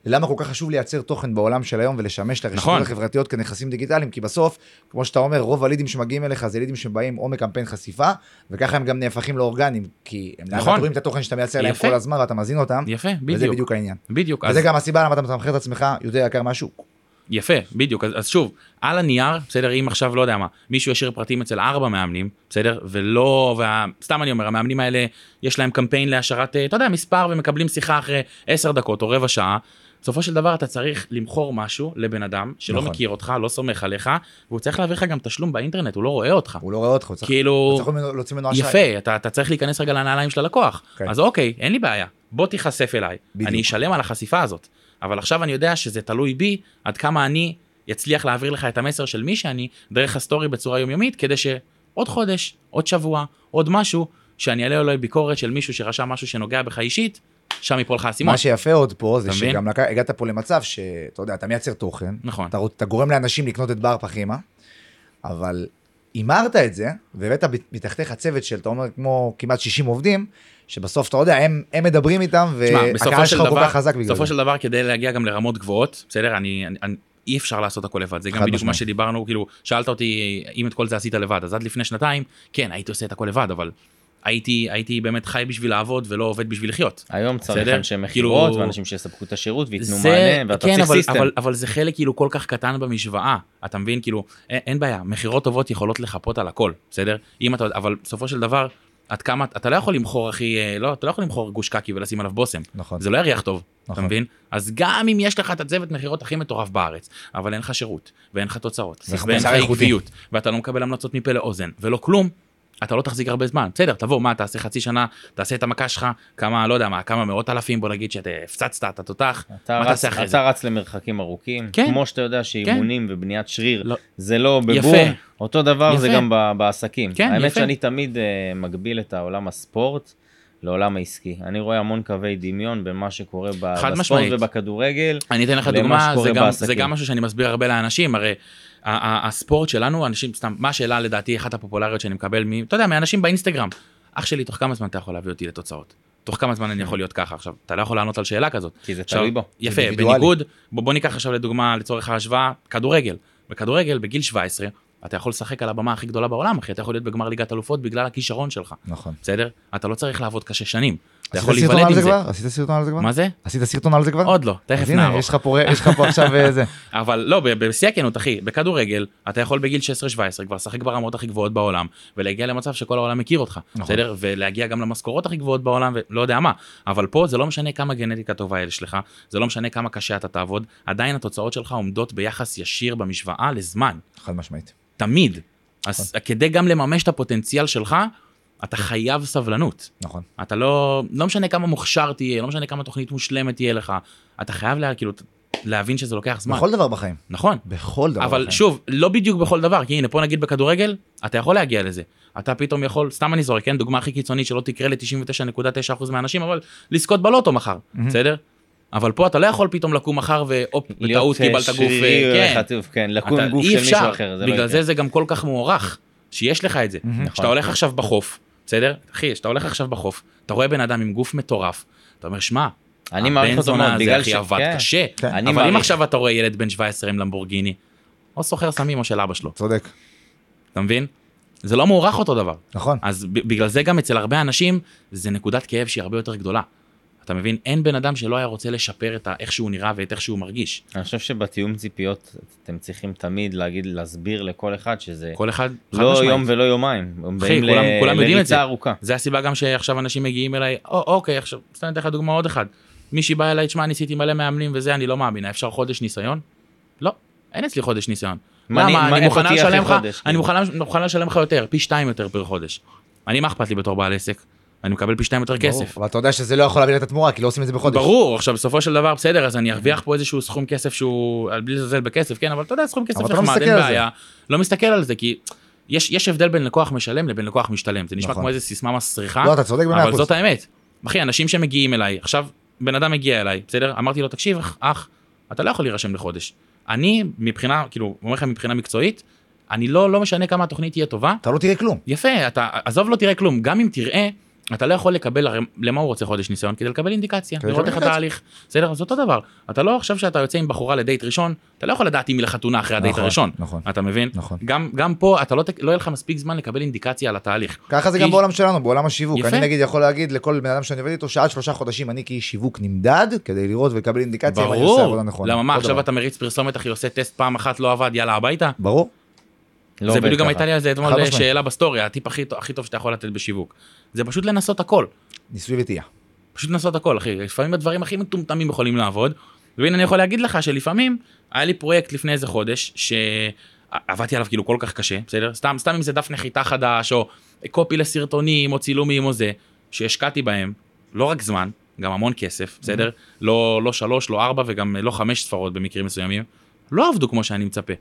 למה כל כך חשוב לייצר תוכן בעולם של היום ולשמש את הרשתות נכון. החברתיות כנכסים דיגיטליים, כי בסוף, כמו שאתה אומר, רוב הלידים שמגיעים אליך זה לידים שבאים או מקמפיין חשיפה, וככה הם גם נהפכים לאורגניים, כי הם נכון. נכון. רואים את התוכן שאתה מייצר להם יפה. כל הזמן ואתה מזין אותם, יפה, וזה בדיוק. בדיוק העניין. בדיוק. אז- וזה גם הסיבה למה אתה מתמחר את עצמך יותר יקר מהשוק. יפה, בדיוק. אז, אז שוב, על הנייר, בסדר, אם עכשיו, לא יודע מה, מישהו ישאיר פרטים אצל ארבע מאמנים, בסדר, ולא, וה- סתם אני אומר, המאמנים האלה, יש להם קמפיין להשארת, אה, אתה יודע, מספר, ומקבלים שיחה אחרי עשר דקות או רבע שעה. בסופו של דבר אתה צריך למכור משהו לבן אדם שלא נכון. נכון. מכיר אותך, לא סומך עליך, והוא צריך להעביר לך גם תשלום באינטרנט, הוא לא רואה אותך. הוא לא רואה אותך, הוא צריך כאילו, צריך ממנו- להוציא ממנו אשראי. יפה, אתה, אתה צריך להיכנס רגע לנעליים של הלקוח. כן. כן. אז אוקיי, אין לי בעיה, בוא תיחשף אליי. בדיוק. בדיוק. אני אשלם על החשיפה הזאת. אבל עכשיו אני יודע שזה תלוי בי, עד כמה אני אצליח להעביר לך את המסר של מי שאני, דרך הסטורי בצורה יומיומית, כדי שעוד חודש, עוד שבוע, עוד משהו, שאני אעלה עליי ביקורת של מישהו שרשם משהו שנוגע בך אישית, שם יפול לך האסימון. מה שיפה עוד פה זה אתה מבין? שגם לק... הגעת פה למצב שאתה יודע, אתה מייצר תוכן, נכון. אתה, אתה גורם לאנשים לקנות את בר פחימה, אבל הימרת את זה, והבאת ב- מתחתיך צוות של, אתה אומר, כמו כמעט 60 עובדים, שבסוף אתה יודע, הם, הם מדברים איתם, תשמע, והקהל בסופו של שלך כל דבר, כך חזק בגלל זה. בסופו של דבר כדי להגיע גם לרמות גבוהות, בסדר? אני, אני, אני אי אפשר לעשות הכל לבד, זה גם חד בדיוק מה משמעית. שדיברנו, כאילו, שאלת אותי אם את כל זה עשית לבד, אז עד לפני שנתיים, כן, הייתי עושה את הכל לבד, אבל הייתי, הייתי באמת חי בשביל לעבוד ולא עובד בשביל לחיות. היום צריך בסדר? אנשי כאילו- מכירות ואנשים שיספקו את השירות וייתנו זה, מענה, ואתה כן, צריך אבל, סיסטם. אבל, אבל זה חלק כאילו כל כך קטן במשוואה, אתה מבין? כאילו, אין, אין בעיה, מכירות טובות יכולות לחפות על הכל, בסדר? אם אתה, אבל בסופו של דבר, עד כמה, אתה לא יכול למכור, אחי, אה, לא, אתה לא יכול למכור גוש קקי ולשים עליו בושם. נכון. זה לא יריח טוב, אתה נכון. מבין? אז גם אם יש לך את הצוות מכירות הכי מטורף בארץ, אבל אין לך שירות, ואין לך תוצאות, זה ואין לך מוצר איכותי. עקביות, ואתה לא מקבל המלצות מפה לאוזן, ולא כלום, אתה לא תחזיק הרבה זמן. בסדר, תבוא, מה, תעשה חצי שנה, תעשה את המכה שלך, כמה, לא יודע מה, כמה מאות אלפים, בוא נגיד שאתה הפצצת, אתה תותח, אתה מה רץ, תעשה אחרי זה? אתה רץ למרחקים ארוכים, כן. כמו שאתה יודע שאימונים ובניית שריר לא. זה לא יפה. בבום, אותו דבר זה יפה. גם ב- בעסקים. כן, האמת יפה. שאני תמיד אה, מגביל את העולם הספורט לעולם העסקי. אני רואה המון קווי דמיון בין מה שקורה ב- חד בספורט משמעית. ובכדורגל. אני אתן לך למה דוגמה, שקורה זה גם, בעסקים. זה גם משהו שאני מסביר הרבה לאנשים, הרי ה- ה- הספורט שלנו, אנשים, סתם, מה השאלה לדעתי אחת הפופולריות שאני מקבל, מ- אתה יודע, מאנשים באינסטגרם, אח שלי, תוך כמה זמן אתה יכול להביא אותי לתוצאות? תוך כמה זמן אני יכול להיות ככה? עכשיו, אתה לא יכול לענות על שאלה כזאת. כי זה עכשיו, תלוי בו, זה יפה, אינדיבידואלי. בניגוד, בוא, בוא ניקח עכשיו לדוגמה, לצורך ההשוואה, כדורגל. בכדורגל, בגיל 17, אתה יכול לשחק על הבמה הכי גדולה בעולם, אחי, אתה יכול להיות בגמר ליגת אלופות בגלל הכישרון שלך, נכון. בסדר? אתה לא צריך לעבוד קשה שנים, אתה עשית יכול סרטון להיוולד על עם זה. כבר? עשית סרטון על זה כבר? מה זה? עשית סרטון על זה כבר? עוד לא, תכף אז הנה, נערוך. יש לך פה- יש לך פה עכשיו אה, זה. אבל לא, ב- בשיא הכנות, אחי, בכדורגל, אתה יכול בגיל 16-17 כבר לשחק ברמות הכי גבוהות בעולם, ולהגיע למצב שכל העולם מכיר אותך, נכון. בסדר? ולהגיע גם למשכורות הכי גבוהות בעולם, ולא יודע מה. אבל פה זה לא משנה כמה גנטיקה טובה יש לך, זה לא משנה כמה קשה אתה תעבוד, עדיין התוצאות שלך עומדות ביחס ישיר במשוואה לזמן, חד משמעית. תמיד. אז כדי גם לממש את הפוטנציאל שלך, אתה חייב סבלנות. נכון. אתה לא, לא משנה כמה מוכשר תהיה, לא משנה כמה תוכנית מושלמת תהיה לך, אתה חייב לה, כאילו, להבין שזה לוקח זמן. בכל דבר בחיים. נכון. בכל דבר אבל בחיים. שוב, לא בדיוק בכל דבר, כי הנה, פה נגיד בכדורגל, אתה יכול להגיע לזה. אתה פתאום יכול, סתם אני זורק, כן, דוגמה הכי קיצונית שלא תקרה ל-99.9% מהאנשים, אבל לזכות בלוטו מחר, בסדר? אבל פה אתה לא יכול פתאום לקום מחר והופ, בטעות קיבלת גוף, אה, כן. כן. חטוף, כן, אתה- לקום גוף אי של אפשר. מישהו אחר, זה לא בגלל יקרה. נכון. זה זה גם כל כך מוערך, שיש לך את זה. כשאתה הולך עכשיו בחוף, בסדר? אחי, כשאתה הולך עכשיו בחוף, אתה רואה בן אדם עם גוף מטורף, אתה אומר, שמע, אני מעריך אותו מאוד, הבן זונה בגלל הזה אחי עבד כן. קשה, כן. אני אבל אם מעריך. עכשיו אתה רואה ילד בן 17 עם למבורגיני, או סוחר סמים או של אבא שלו, צודק. אתה מבין? זה לא מוערך אותו דבר. נכון. אז ב- בגלל זה גם אצל הרבה אנשים, זה נקודת כאב שהיא הרבה יותר גדולה. אתה מבין? אין בן אדם שלא היה רוצה לשפר את ה- איך שהוא נראה ואת איך שהוא מרגיש. אני חושב שבתיאום ציפיות אתם צריכים תמיד להגיד, להסביר לכל אחד שזה כל אחד, חד לא משמעית. יום ולא יומיים. הם אחי, באים ל- כולם- כולם יודעים את זה. לריצה ארוכה. זה הסיבה גם שעכשיו אנשים מגיעים אליי, או, אוקיי, עכשיו, סתם אתן לך דוגמה עוד אחד. מישהי באה אליי, תשמע, ניסיתי מלא מאמנים וזה, אני לא מאמינה, אפשר חודש ניסיון? לא, אין אצלי חודש ניסיון. מה אני- למה? מה- אני איפה מוכנה תהיה לשלם אחרי לך, חודש? אני כאילו? מוכנה- מוכנה לשלם לך יותר, פי שתיים יותר פר חודש. אני, מה אכפת לי בתור בעל עסק? אני מקבל פי שתיים יותר ברור. כסף. אבל אתה יודע שזה לא יכול להביא את התמורה, כי לא עושים את זה בחודש. ברור, עכשיו בסופו של דבר בסדר, אז אני ארוויח פה איזשהו סכום כסף שהוא, בלי לזלזל בכסף, כן, אבל אתה יודע, סכום אבל כסף אתה לא נחמד, מסתכל אין על זה. בעיה. לא מסתכל על זה, כי יש יש הבדל בין לקוח משלם לבין לקוח משתלם. זה נשמע נכון. כמו איזה סיסמה מסריחה, לא, אתה צודק במאה אבל אחוז. זאת האמת. אחי, אנשים שמגיעים אליי, עכשיו בן אדם הגיע אליי, בסדר? אמרתי לו, תקשיב, אח- אח, אתה לא יכול להירשם לחודש. אני, מבחינה, כאילו, אומר לך מבחינה מקצועית, אני לא, לא משנה כמה התוכנית תהיה טובה, אתה לא תראה כלום. יפה, אתה, עזוב לא תראה כלום, גם אם תראה, אתה לא יכול לקבל, הרי למה הוא רוצה חודש ניסיון? כדי לקבל אינדיקציה, כדי לראות לקבל איך התהליך, בסדר? אז אותו דבר, אתה לא עכשיו שאתה יוצא עם בחורה לדייט ראשון, אתה לא יכול לדעת אם היא לחתונה אחרי הדייט נכון, הראשון, נכון. אתה מבין? נכון. גם, גם פה אתה לא, ת- לא יהיה לך מספיק זמן לקבל אינדיקציה על התהליך. ככה זה כי- גם בעולם שלנו, בעולם השיווק. יפה. אני נגיד יכול להגיד לכל בן אדם שאני עובד איתו, שעד שלושה חודשים אני כאיש שיווק נמדד, כדי לראות ולקבל אינדיקציה אם אני עושה ברור, עבודה נכונה. למה מה עוד עכשיו דבר. אתה מריץ פרסומת אחי עושה טסט פעם אחת לא עבד יאללה הביתה? ברור. לא זה עובד בדיוק גם ככה. הייתה לי על זה חד אתמול משמעית. שאלה בסטורי, הטיפ הכי טוב- הכי טוב שאתה יכול לתת בשיווק. זה פשוט לנסות הכל. ניסוי וטעייה. פשוט לנסות הכל אחי לפעמים הדברים הכי מטומטמים יכולים לעבוד. והנה אני יכול להגיד לך שלפעמים היה לי פרויקט לפני איזה חודש שעבדתי עליו כאילו כל כך קשה בסדר סתם סתם אם זה דף נחיתה חדש או קופי לסרטונים או צילומים או זה שהשקעתי בהם לא רק זמן גם המון כסף בסדר Mm-hmm. לא לא שלוש לא ארבע וגם לא חמש ספרות במקרים מסוימים לא עבדו כמו שאני מצפה.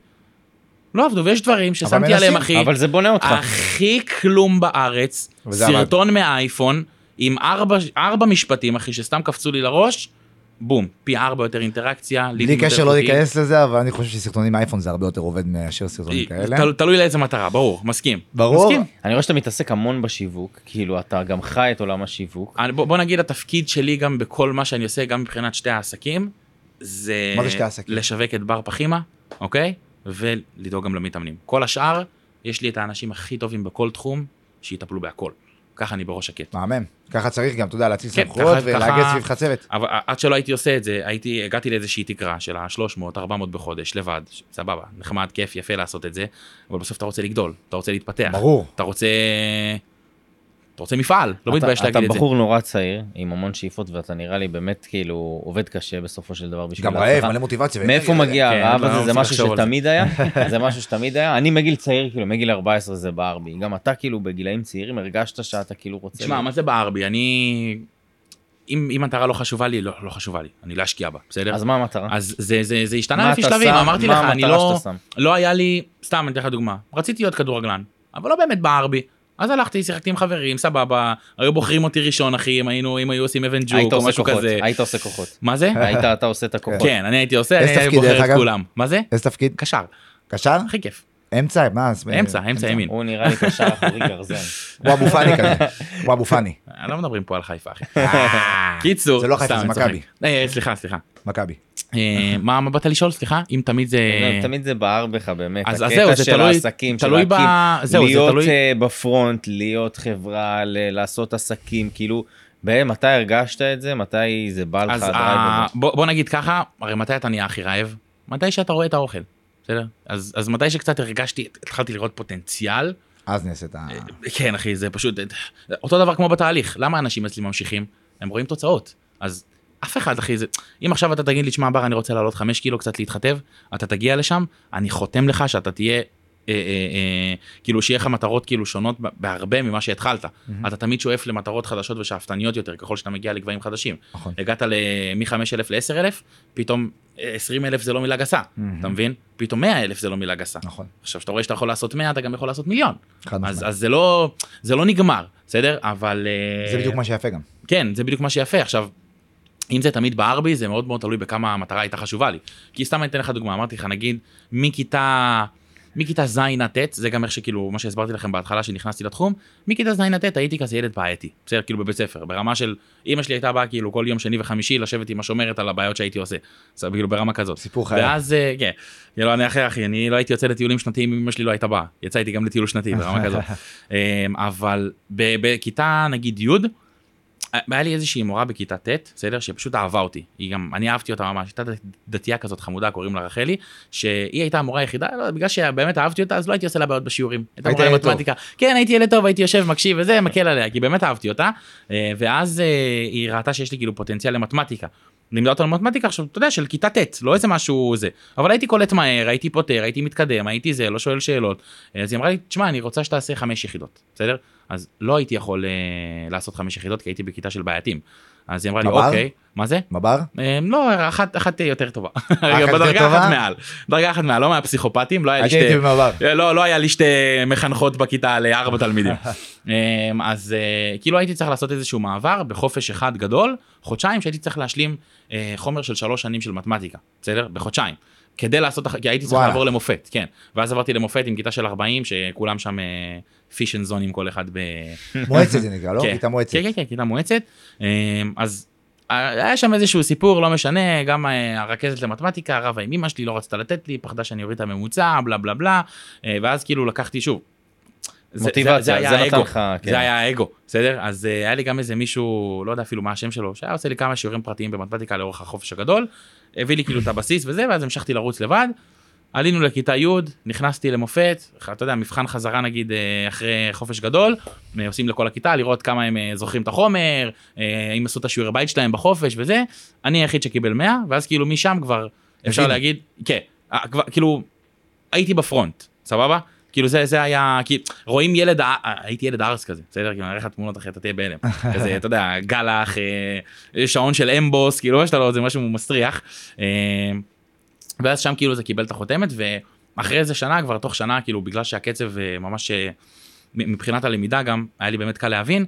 לא עבדו ויש דברים ששמתי עליהם מנסים, אחי אבל זה בונה אותך. הכי כלום בארץ, וזה עבד. סרטון מהאייפון, עם ארבע, ארבע משפטים, אחי, שסתם קפצו לי לראש, בום, פי ארבע יותר אינטראקציה. בלי לידים קשר יותר לא איכותיים. להיכנס לא לזה, אבל אני חושב שסרטונים מאייפון זה הרבה יותר עובד מאשר סרטונים כאלה. אה, תל- תלוי לאיזה מטרה, ברור, מסכים. ברור. לא- מסכים. אני רואה שאתה מתעסק המון בשיווק, כאילו אתה גם חי את עולם השיווק. אני- בוא, בוא נגיד התפקיד שלי גם בכל מה שאני עושה, גם מבחינת שתי העסקים, זה, מה זה שתי העסקים? לשווק את בר פחימה, אוקיי? ולדאוג גם למתאמנים. כל השאר, יש לי את האנשים הכי טובים בכל תחום, שיטפלו בהכל. ככה אני בראש שקט. מהמם. ככה צריך גם, אתה יודע, להציל כן, סמכויות ככה- ולאגד ככה- סביבך צוות. אבל עד שלא הייתי עושה את זה, הייתי, הגעתי לאיזושהי תקרה של ה-300-400 בחודש לבד, ש- סבבה, נחמד, כיף, יפה לעשות את זה, אבל בסוף אתה רוצה לגדול, אתה רוצה להתפתח. ברור. אתה רוצה... אתה רוצה מפעל, לא אתה- מתבייש להגיד את אתה זה. בחור נורא צעיר, עם המון שאיפות, ואתה נראה לי באמת כאילו עובד קשה בסופו של דבר בשביל גם רעב, ההצלחה. מלא מוטיבציה. מאיפה מגיע כן, הרעב לא, לא הזה? זה צריך משהו לחשוב על זה. שתמיד היה, זה משהו שתמיד היה. אני מגיל צעיר, כאילו מגיל 14 זה בער בי. גם אתה כאילו בגילאים צעירים הרגשת שאתה כאילו רוצה... תשמע, מה זה בער בי? אני... אם אם מטרה לא חשובה לי, לא לא חשובה לי, אני לא אשקיע בה, בסדר? אז מה המטרה? אז זה, זה, זה מה השתנה לפי אתה שלבים, שם? אמרתי לך, מה אני המטרה לא, שאתה שם? לא היה לי, סתם אני אתן לך דוגמה, רציתי להיות כדורגלן, אבל לא באמת בער בי. אז הלכתי, שיחקתי עם חברים, סבבה, היו בוחרים אותי ראשון, אחי, אם היינו, אם היו עושים אבן היית ג'וק או עושה משהו כוחות, כזה. היית עושה כוחות. מה זה? היית אתה עושה את הכוחות. כן, אני הייתי עושה, איזה אני הייתי תפקיד, דרך בוחר את אגב? כולם. מה זה? איזה תפקיד? קשר, קשר? הכי כיף. אמצע? מה? אה, אה, אמצע, אמצע ימין. הוא נראה לי קשר אחורי גרזן. הוא אבו פאני כזה. הוא אבו פאני. אה, לא מדברים פה על חיפה, אחי. קיצור, זה לא חיפה, סתם, זה אני צוחק. מכבי. אה, סליחה, סליחה. מכבי. אה, מה מה באת לשאול? סליחה? אם תמיד זה... לא, תמיד זה בער בך באמת, כן. אז- אז הקטע זהו, זה של תלוי- העסקים, של תלוי ב... להקים זהו, זה להיות תלוי... אה, בפרונט, להיות חברה, ל- לעשות עסקים, כאילו, ב- מתי הרגשת את זה? מתי זה בא לך? אז הדרייב ה... הזה? בוא, בוא נגיד ככה, הרי מתי אתה נהיה הכי רעב? מתי שאתה רואה את האוכל, בסדר? אז, אז מתי שקצת הרגשתי, התחלתי לראות פוטנציאל, אז נעשית ה... כן אחי זה פשוט אותו דבר כמו בתהליך למה אנשים אצלי ממשיכים הם רואים תוצאות אז אף אחד אחי זה אם עכשיו אתה תגיד לי שמע בר אני רוצה לעלות 5 קילו קצת להתחתב אתה תגיע לשם אני חותם לך שאתה תהיה. אה, אה, אה, כאילו שיהיה לך מטרות כאילו שונות ב- בהרבה ממה שהתחלת אתה תמיד שואף למטרות חדשות ושאפתניות יותר ככל שאתה מגיע לגבהים חדשים נכון. הגעת מ-5,000 ל-10,000 פתאום 20,000 זה לא מילה גסה אתה מבין פתאום 100,000 זה לא מילה גסה נכון. עכשיו שאתה רואה שאתה יכול לעשות 100 אתה גם יכול לעשות מיליון חד אז, משמעית. אז זה לא זה לא נגמר בסדר אבל אה, זה בדיוק מה שיפה גם. כן זה בדיוק מה שיפה עכשיו. אם זה תמיד בער בי זה מאוד מאוד תלוי בכמה המטרה הייתה חשובה לי כי סתם אני אתן לך דוגמה אמרתי לך נגיד מכיתה מכיתה ז' עד ט' זה גם איך שכאילו מה שהסברתי לכם בהתחלה שנכנסתי לתחום מכיתה ז' עד ט' הייתי כזה ילד בעייתי בסדר כאילו בבית ספר ברמה של אמא שלי הייתה באה כאילו כל יום שני וחמישי לשבת עם השומרת על הבעיות שהייתי עושה זה כאילו ברמה כזאת סיפור חיי. ואז אה, כן כאילו אני אחרי אחי אני לא הייתי יוצא לטיולים שנתיים אם אמא שלי לא הייתה באה יצא איתי גם לטיול שנתי ברמה כזאת אה, אבל ב- בכיתה נגיד י' היה לי איזושהי מורה בכיתה ט', בסדר? שפשוט אהבה אותי. היא גם, אני אהבתי אותה ממש, הייתה דתייה כזאת חמודה, קוראים לה רחלי, שהיא הייתה המורה היחידה, לא, בגלל שבאמת אהבתי אותה, אז לא הייתי עושה לה בעיות בשיעורים. הייתה היית מורה ילד טוב. למתמטיקה. כן, הייתי ילד טוב, הייתי יושב, מקשיב וזה, מקל עליה, כי באמת אהבתי אותה. אה, ואז אה, היא ראתה שיש לי כאילו פוטנציאל למתמטיקה. לימדה אותנו מתמטיקה עכשיו, אתה יודע, של כיתה ט', לא איזה משהו זה. אבל הייתי קולט מהר, הייתי פותר, הייתי מתקדם, הייתי זה, לא שואל שאלות. אה, אז היא אמרה לי, תשמע, אני רוצה שתעשה חמש יחידות, בסדר? אז לא הייתי יכול אה, לעשות חמש יחידות, כי הייתי בכיתה של בעייתים. אז היא אמרה לי, מב"ר? אוקיי, מה זה? מב"ר? אה, לא, אחת, אחת אה, יותר טובה. יותר בדרגה טובה? אחת מעל. דרגה אחת מעל, לא מהפסיכופטים, לא היה לי הייתי שתי... הייתי במב"ר. אה, לא, לא היה לי שתי מחנכות בכיתה לארבע תלמידים. אמ, אז אה, כאילו הייתי צריך לעשות איזשהו מעבר בחופש אחד גדול, חודשיים שהייתי צריך להשלים אה, חומר של שלוש שנים של מתמטיקה, בסדר? בחודשיים. כדי לעשות, הח- כי הייתי צריך וואלה. לעבור למופת, כן. ואז עברתי למופת עם כיתה של 40, שכולם שם אה, פישן זונים כל אחד ב... מועצת זה נקרא, לא? כן. כיתה מועצת. כן, כן, כן, כיתה מועצת. אמ, אז אה, היה שם איזשהו סיפור, לא משנה, גם אה, הרכזת למתמטיקה, רבה עם אמא שלי, לא רצתה לתת לי, פחדה שאני אוריד את הממוצע, בלה בלה בלה, אה, ואז כאילו לקחתי שוב. זה- מוטיבציה, היה זה נתן האגו. לך, כן. זה היה האגו, בסדר? אז אה, היה לי גם איזה מישהו, לא יודע אפילו מה השם שלו, שהיה עושה לי כמה שיעורים פרטיים במתמטיקה לאורך החופש הגדול, הביא לי כאילו את הבסיס וזה, ואז המשכתי לרוץ לבד. עלינו לכיתה י', נכנסתי למופת, אתה יודע, מבחן חזרה נגיד אה, אחרי חופש גדול, אה, עושים לכל הכיתה, לראות כמה הם אה, זוכרים את החומר, אה, אם עשו את השיעורי בית שלהם בחופש וזה, אני היחיד שקיבל 100, ואז כאילו משם כבר אפשר הבינו. להגיד, כן, אה, כבר, כאילו, הייתי בפרונט, סבבה? כאילו זה, זה היה, כי רואים ילד, אה, הייתי ילד הארס כזה, בסדר? כאילו אני אראה לך תמונות אחרי, אתה תהיה בהלם. כזה, אתה יודע, גלח, אה, שעון של אמבוס, כאילו מה שאתה לא, זה משהו מסריח. אה, ואז שם כאילו זה קיבל את החותמת ואחרי איזה שנה כבר תוך שנה כאילו בגלל שהקצב אה, ממש אה, מ- מבחינת הלמידה גם היה לי באמת קל להבין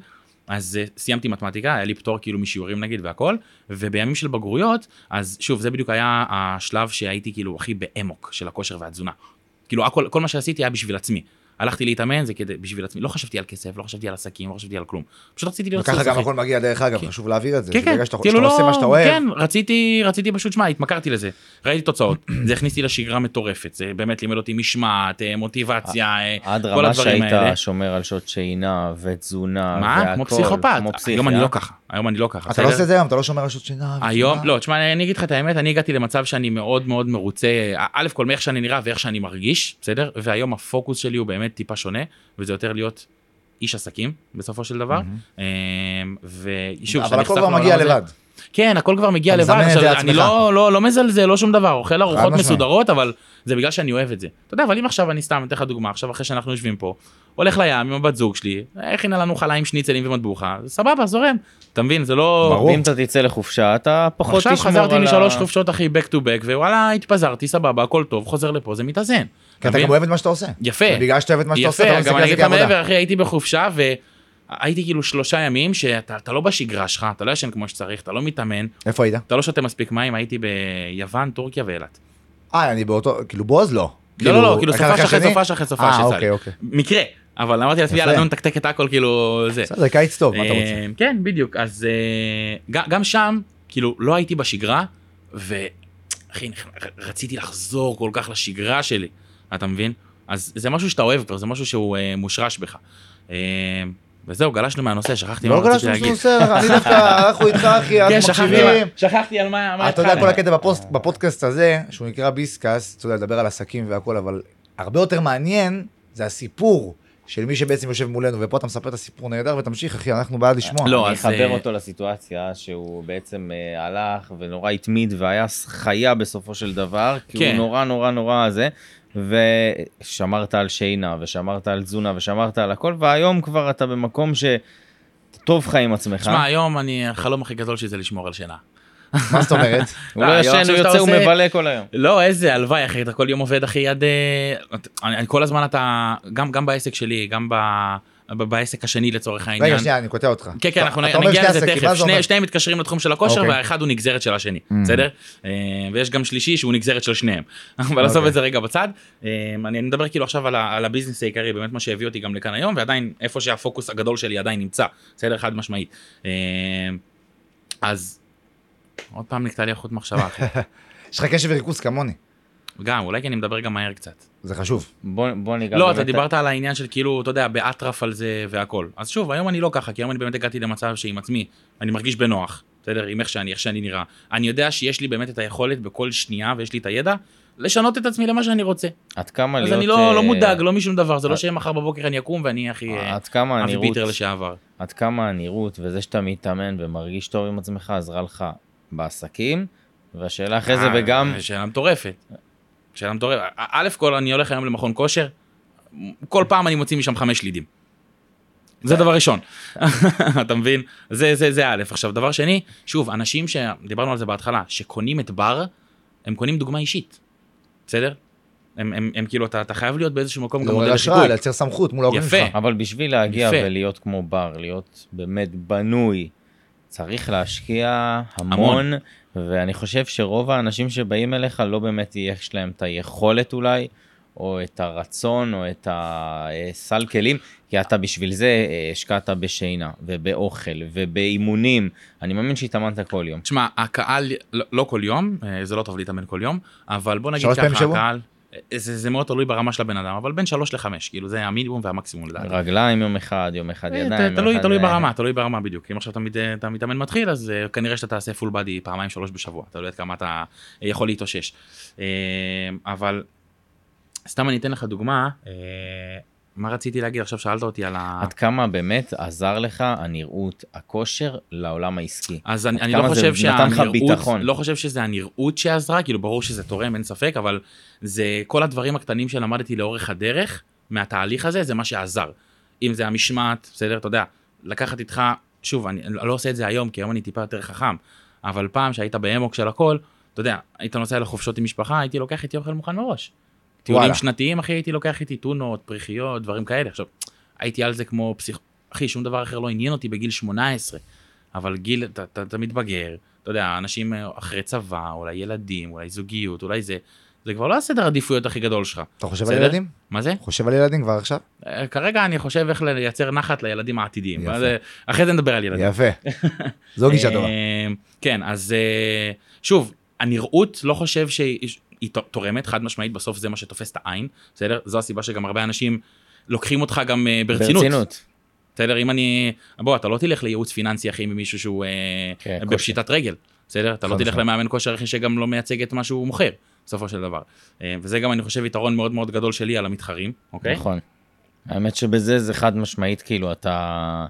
אז אה, סיימתי מתמטיקה היה לי פטור כאילו משיעורים נגיד והכל ובימים של בגרויות אז שוב זה בדיוק היה השלב שהייתי כאילו הכי באמוק של הכושר והתזונה. כאילו הכל כל מה שעשיתי היה בשביל עצמי. הלכתי להתאמן זה כדי בשביל עצמי לא חשבתי על כסף לא חשבתי על עסקים לא חשבתי על כלום פשוט רציתי להיות וככה סוס, גם אחי. הכל מגיע, דרך אגב, כן. חשוב להעביר את זה. כן, שברגע כן, שאתה כאילו שאתה לא, עושה מה שאתה אוהב, כן, רציתי, רציתי פשוט, שמע, התמכרתי לזה, ראיתי תוצאות, זה הכניס לי לשגרה מטורפת, זה באמת לימד אותי משמעת, אה, מוטיבציה, אה, עד כל רמה הדברים שהיית האלה. שומר על שעות שינה אה, ותזונה מה? כמו פסיכופת, כמו אה? פסיכיה. היום אני לא ככה, היום אני לא ככה, אתה בסדר? לא עושה את זה היום, אתה לא שומר רשות שינה. היום, ושינה. לא, תשמע, אני אגיד לך את האמת, אני הגעתי למצב שאני מאוד מאוד מרוצה, א' כל מאיך שאני נראה ואיך שאני מרגיש, בסדר? והיום הפוקוס שלי הוא באמת טיפה שונה, וזה יותר להיות איש עסקים, בסופו של דבר. אה, ושוב, אבל כשנחשפנו הכל כבר לעולם מגיע הזה- לבד. כן, הכל כבר מגיע אתה לבד. מזמן את זה עכשיו, לעצמך. אני לא, לא, לא מזלזל, לא שום דבר, אוכל ארוחות משמעית. מסודרות, אבל זה בגלל שאני אוהב את זה. אתה יודע, אבל אם עכשיו אני סתם אתן לך דוגמה, עכשיו אחרי שאנחנו יושבים פה, הולך לים עם הבת זוג שלי, הכינה לנו חלה עם שניצלים ומטבוחה, סבבה, זורם. אתה מבין, זה לא... ברור. אם אתה תצא לחופשה אתה פחות תשמור על עכשיו ה... חזרתי משלוש חופשות אחי back to back ווואלה התפזרתי סבבה הכל טוב חוזר לפה זה מתאזן. כי אתה מבין? גם אוהב את מה שאתה עושה. יפה. בגלל שאתה אוהב את מה שאתה עושה, יפה, אתה לא מסתכל גם על אני זה אגיד לך כעבודה. מעבר, אחי, הייתי בחופשה והייתי כאילו שלושה ימים שאתה אתה לא בשגרה שלך, אתה לא ישן כמו שצריך, אתה לא מתאמן, איפה היית? אתה לא שותה מספיק מים, הייתי ביוון, טורקיה ואילת. אה, אני באותו, כאילו בועז לא. לא, לא, לא, כאילו אחד סופש אחרי השני? סופש אחרי סופש אה, יצא אוקיי, לי. אוקיי. מקרה, אבל אמרתי לעצמי, יפה. יאללה, נו, נתקתק את הכל, כאילו, זה. בסדר, קיץ טוב, מה אתה רוצה? אה, כן, בדיוק. אז אה, ג- גם שם, כאילו, לא הייתי בשגרה, ואתה אחי, נכ- רציתי לחזור כל כך לשגרה שלי, אתה מבין? אז זה משהו שאתה אוהב כבר, זה משהו שהוא אה, מושרש בך. אה, וזהו, גלשנו מהנושא, שכחתי מה לא רציתי גלשנו שום להגיד. נושא, אני דווקא, אנחנו איתך אחי, כן, אנחנו שכחתי מקשיבים. מה- שכחתי על מה מה אתה יודע, כל התחלנו. הקטע בפוסט- בפודקאסט הזה, שהוא נקרא ביסקס, אתה יודע, לדבר על עסקים והכל, אבל הרבה יותר מעניין זה הסיפור של מי שבעצם יושב מולנו, ופה אתה מספר את הסיפור נהדר, ותמשיך, אחי, אנחנו בעד לשמוע. לא, אני אז, אה, אחבר אותו לסיטואציה שהוא בעצם אה, הלך ונורא התמיד והיה חיה בסופו של דבר, כי הוא כן. נורא נורא נורא זה, ושמרת על שינה, ושמרת על תזונה, ושמרת על הכל, והיום כבר אתה במקום ש... טוב לך עם עצמך, שמע, היום אני, החלום הכי גדול שלי זה לשמור על שינה. מה זאת אומרת? הוא לא אה, ישן, יואב, הוא שאתה יוצא, הוא עושה- מבלה כל היום. לא, איזה, הלוואי, אחי, אתה כל יום עובד, אחי, עד... אה, את- אני, אני כל הזמן אתה, גם, גם בעסק שלי, גם ב, ב, בעסק השני לצורך העניין. רגע, שנייה, אני קוטע אותך. כן, כן, אתה- אנחנו אתה אומר נגיע שני לזה עסקים, תכף. מה זה אומר? שני- שניהם מתקשרים לתחום של הכושר, אוקיי. Mm. והאחד הוא נגזרת של השני, בסדר? אה, ויש גם שלישי שהוא נגזרת של שניהם. אבל עזוב אוקיי. את זה רגע בצד. אה, אני מדבר כאילו עכשיו על ה- על הביזנס העיקרי, באמת מה שהביא אותי גם לכאן היום, ועדיין איפה שהפוקוס הגדול שלי עדיין נמצא, בסדר? חד משמעית. אה, אז... עוד פעם נקטע לי החוט מחשבה, אחי. יש לך קשב וריכוז כמוני, גם, אולי כי אני מדבר גם מהר קצת. זה חשוב. בוא, בוא ניגע לא, באמת- אתה דיברת על העניין של כאילו, אתה יודע, באטרף על זה והכל. אז שוב, היום אני לא ככה, כי היום אני באמת הגעתי למצב שעם עצמי, אני מרגיש בנוח, בסדר? עם איך שאני, איך שאני נראה. אני יודע שיש לי באמת את היכולת בכל שנייה, ויש לי את הידע, לשנות את עצמי למה שאני רוצה. עד כמה אז להיות... אני לא אה, לא מודאג, לא משום דבר, זה לא אה, שמחר בבוקר אני אקום ואני הכי... אה, עד כמה אבי הנראות, ביטר לשעבר. עד כמה הנראות וזה שאתה מתאמן ומרגיש טוב עם עצמך עזרה לך בעסקים, והשאלה אחרי זה אה, וגם שאלה מטורפת. שאלה מטורפת. א- א' כל, אני הולך היום למכון כושר, כל פעם אני מוציא משם חמש לידים. זה דבר ראשון, אתה מבין? זה, זה, זה א', עכשיו דבר שני, שוב, אנשים שדיברנו על זה בהתחלה, שקונים את בר, הם קונים דוגמה אישית, בסדר? הם, הם, הם כאילו, אתה, אתה חייב להיות באיזשהו מקום גם לעורר מודל השראה, לחיקוי. לייצר סמכות מול ההורים יפה. שלך. אבל בשביל להגיע יפה. ולהיות כמו בר, להיות באמת בנוי, צריך להשקיע המון, המון. ואני חושב שרוב האנשים שבאים אליך לא באמת יש להם את היכולת אולי, או את הרצון, או את הסל כלים, כי אתה בשביל זה אה, השקעת בשינה, ובאוכל, ובאימונים. אני מאמין שהתאמנת כל יום. תשמע, הקהל, לא, לא כל יום, אה, זה לא טוב להתאמן כל יום, אבל בוא נגיד שלוש פעמים ככה, בשבוע? הקהל, אה, זה, זה מאוד תלוי ברמה של הבן אדם, אבל בין שלוש לחמש, כאילו זה המינימום והמקסימום לדעתי. רגליים יום אחד, יום אחד אה, ידיים. ת- יום תלוי אחד- תלוי ברמה תלוי ברמה בדיוק אם עכשיו אתה מת- אה, אתה מתאמן מתחיל אז אה, כנראה שאתה תעשה פול בדי פעמיים שלוש בשבוע אתה לא יודע כמה אתה אה, יכול להתאושש אה, אבל סתם אני אתן לך דוגמה אה, מה רציתי להגיד עכשיו שאלת אותי על ה... עד כמה באמת עזר לך הנראות, הכושר, לעולם העסקי. אז עד אני, אני לא כמה זה חושב נתן לך שהנראות, ביטחון. לא חושב שזה הנראות שעזרה, כאילו ברור שזה תורם, אין ספק, אבל זה כל הדברים הקטנים שלמדתי לאורך הדרך, מהתהליך הזה, זה מה שעזר. אם זה המשמעת, בסדר, אתה יודע, לקחת איתך, שוב, אני לא עושה את זה היום, כי היום אני טיפה יותר חכם, אבל פעם שהיית באמוק של הכל, אתה יודע, היית נוסע לחופשות עם משפחה, הייתי לוקח איתי אוכל מוכן מראש. טיולים וואלה. שנתיים, אחי, הייתי לוקח איתי טונות, פריחיות, דברים כאלה. עכשיו, הייתי על זה כמו פסיכ... אחי, שום דבר אחר לא עניין אותי בגיל 18. אבל גיל, אתה- אתה אתה מתבגר, אתה יודע, אנשים אה, אחרי צבא, אולי ילדים, אולי זוגיות, אולי זה, זה כבר לא הסדר העדיפויות הכי גדול שלך. אתה חושב על בסדר? ילדים? מה זה? חושב על ילדים כבר עכשיו? אה, כרגע אני חושב איך לייצר נחת לילדים העתידיים. יפה. אז, אה, אחרי זה נדבר על ילדים. יפה. זו לא גישה טובה. אה, כן, אז אה, שוב, הנראות לא חושב שהיא היא ת- תורמת, חד משמעית, בסוף זה מה שתופס את העין, בסדר? זו הסיבה שגם הרבה אנשים לוקחים אותך גם אה, ברצינות. בסדר, אם אני... בוא, אתה לא תלך לייעוץ פיננסי, אחי, ממישהו שהוא כן, כן, כושר. בפשיטת רגל, בסדר? אתה לא חד תלך משמעית. למאמן כושר, אחי, שגם לא מייצג את מה שהוא מוכר, בסופו של דבר. אה, וזה גם, אני חושב, יתרון מאוד מאוד גדול שלי על המתחרים, אוקיי? נכון. האמת שבזה זה חד משמעית, כאילו, אתה...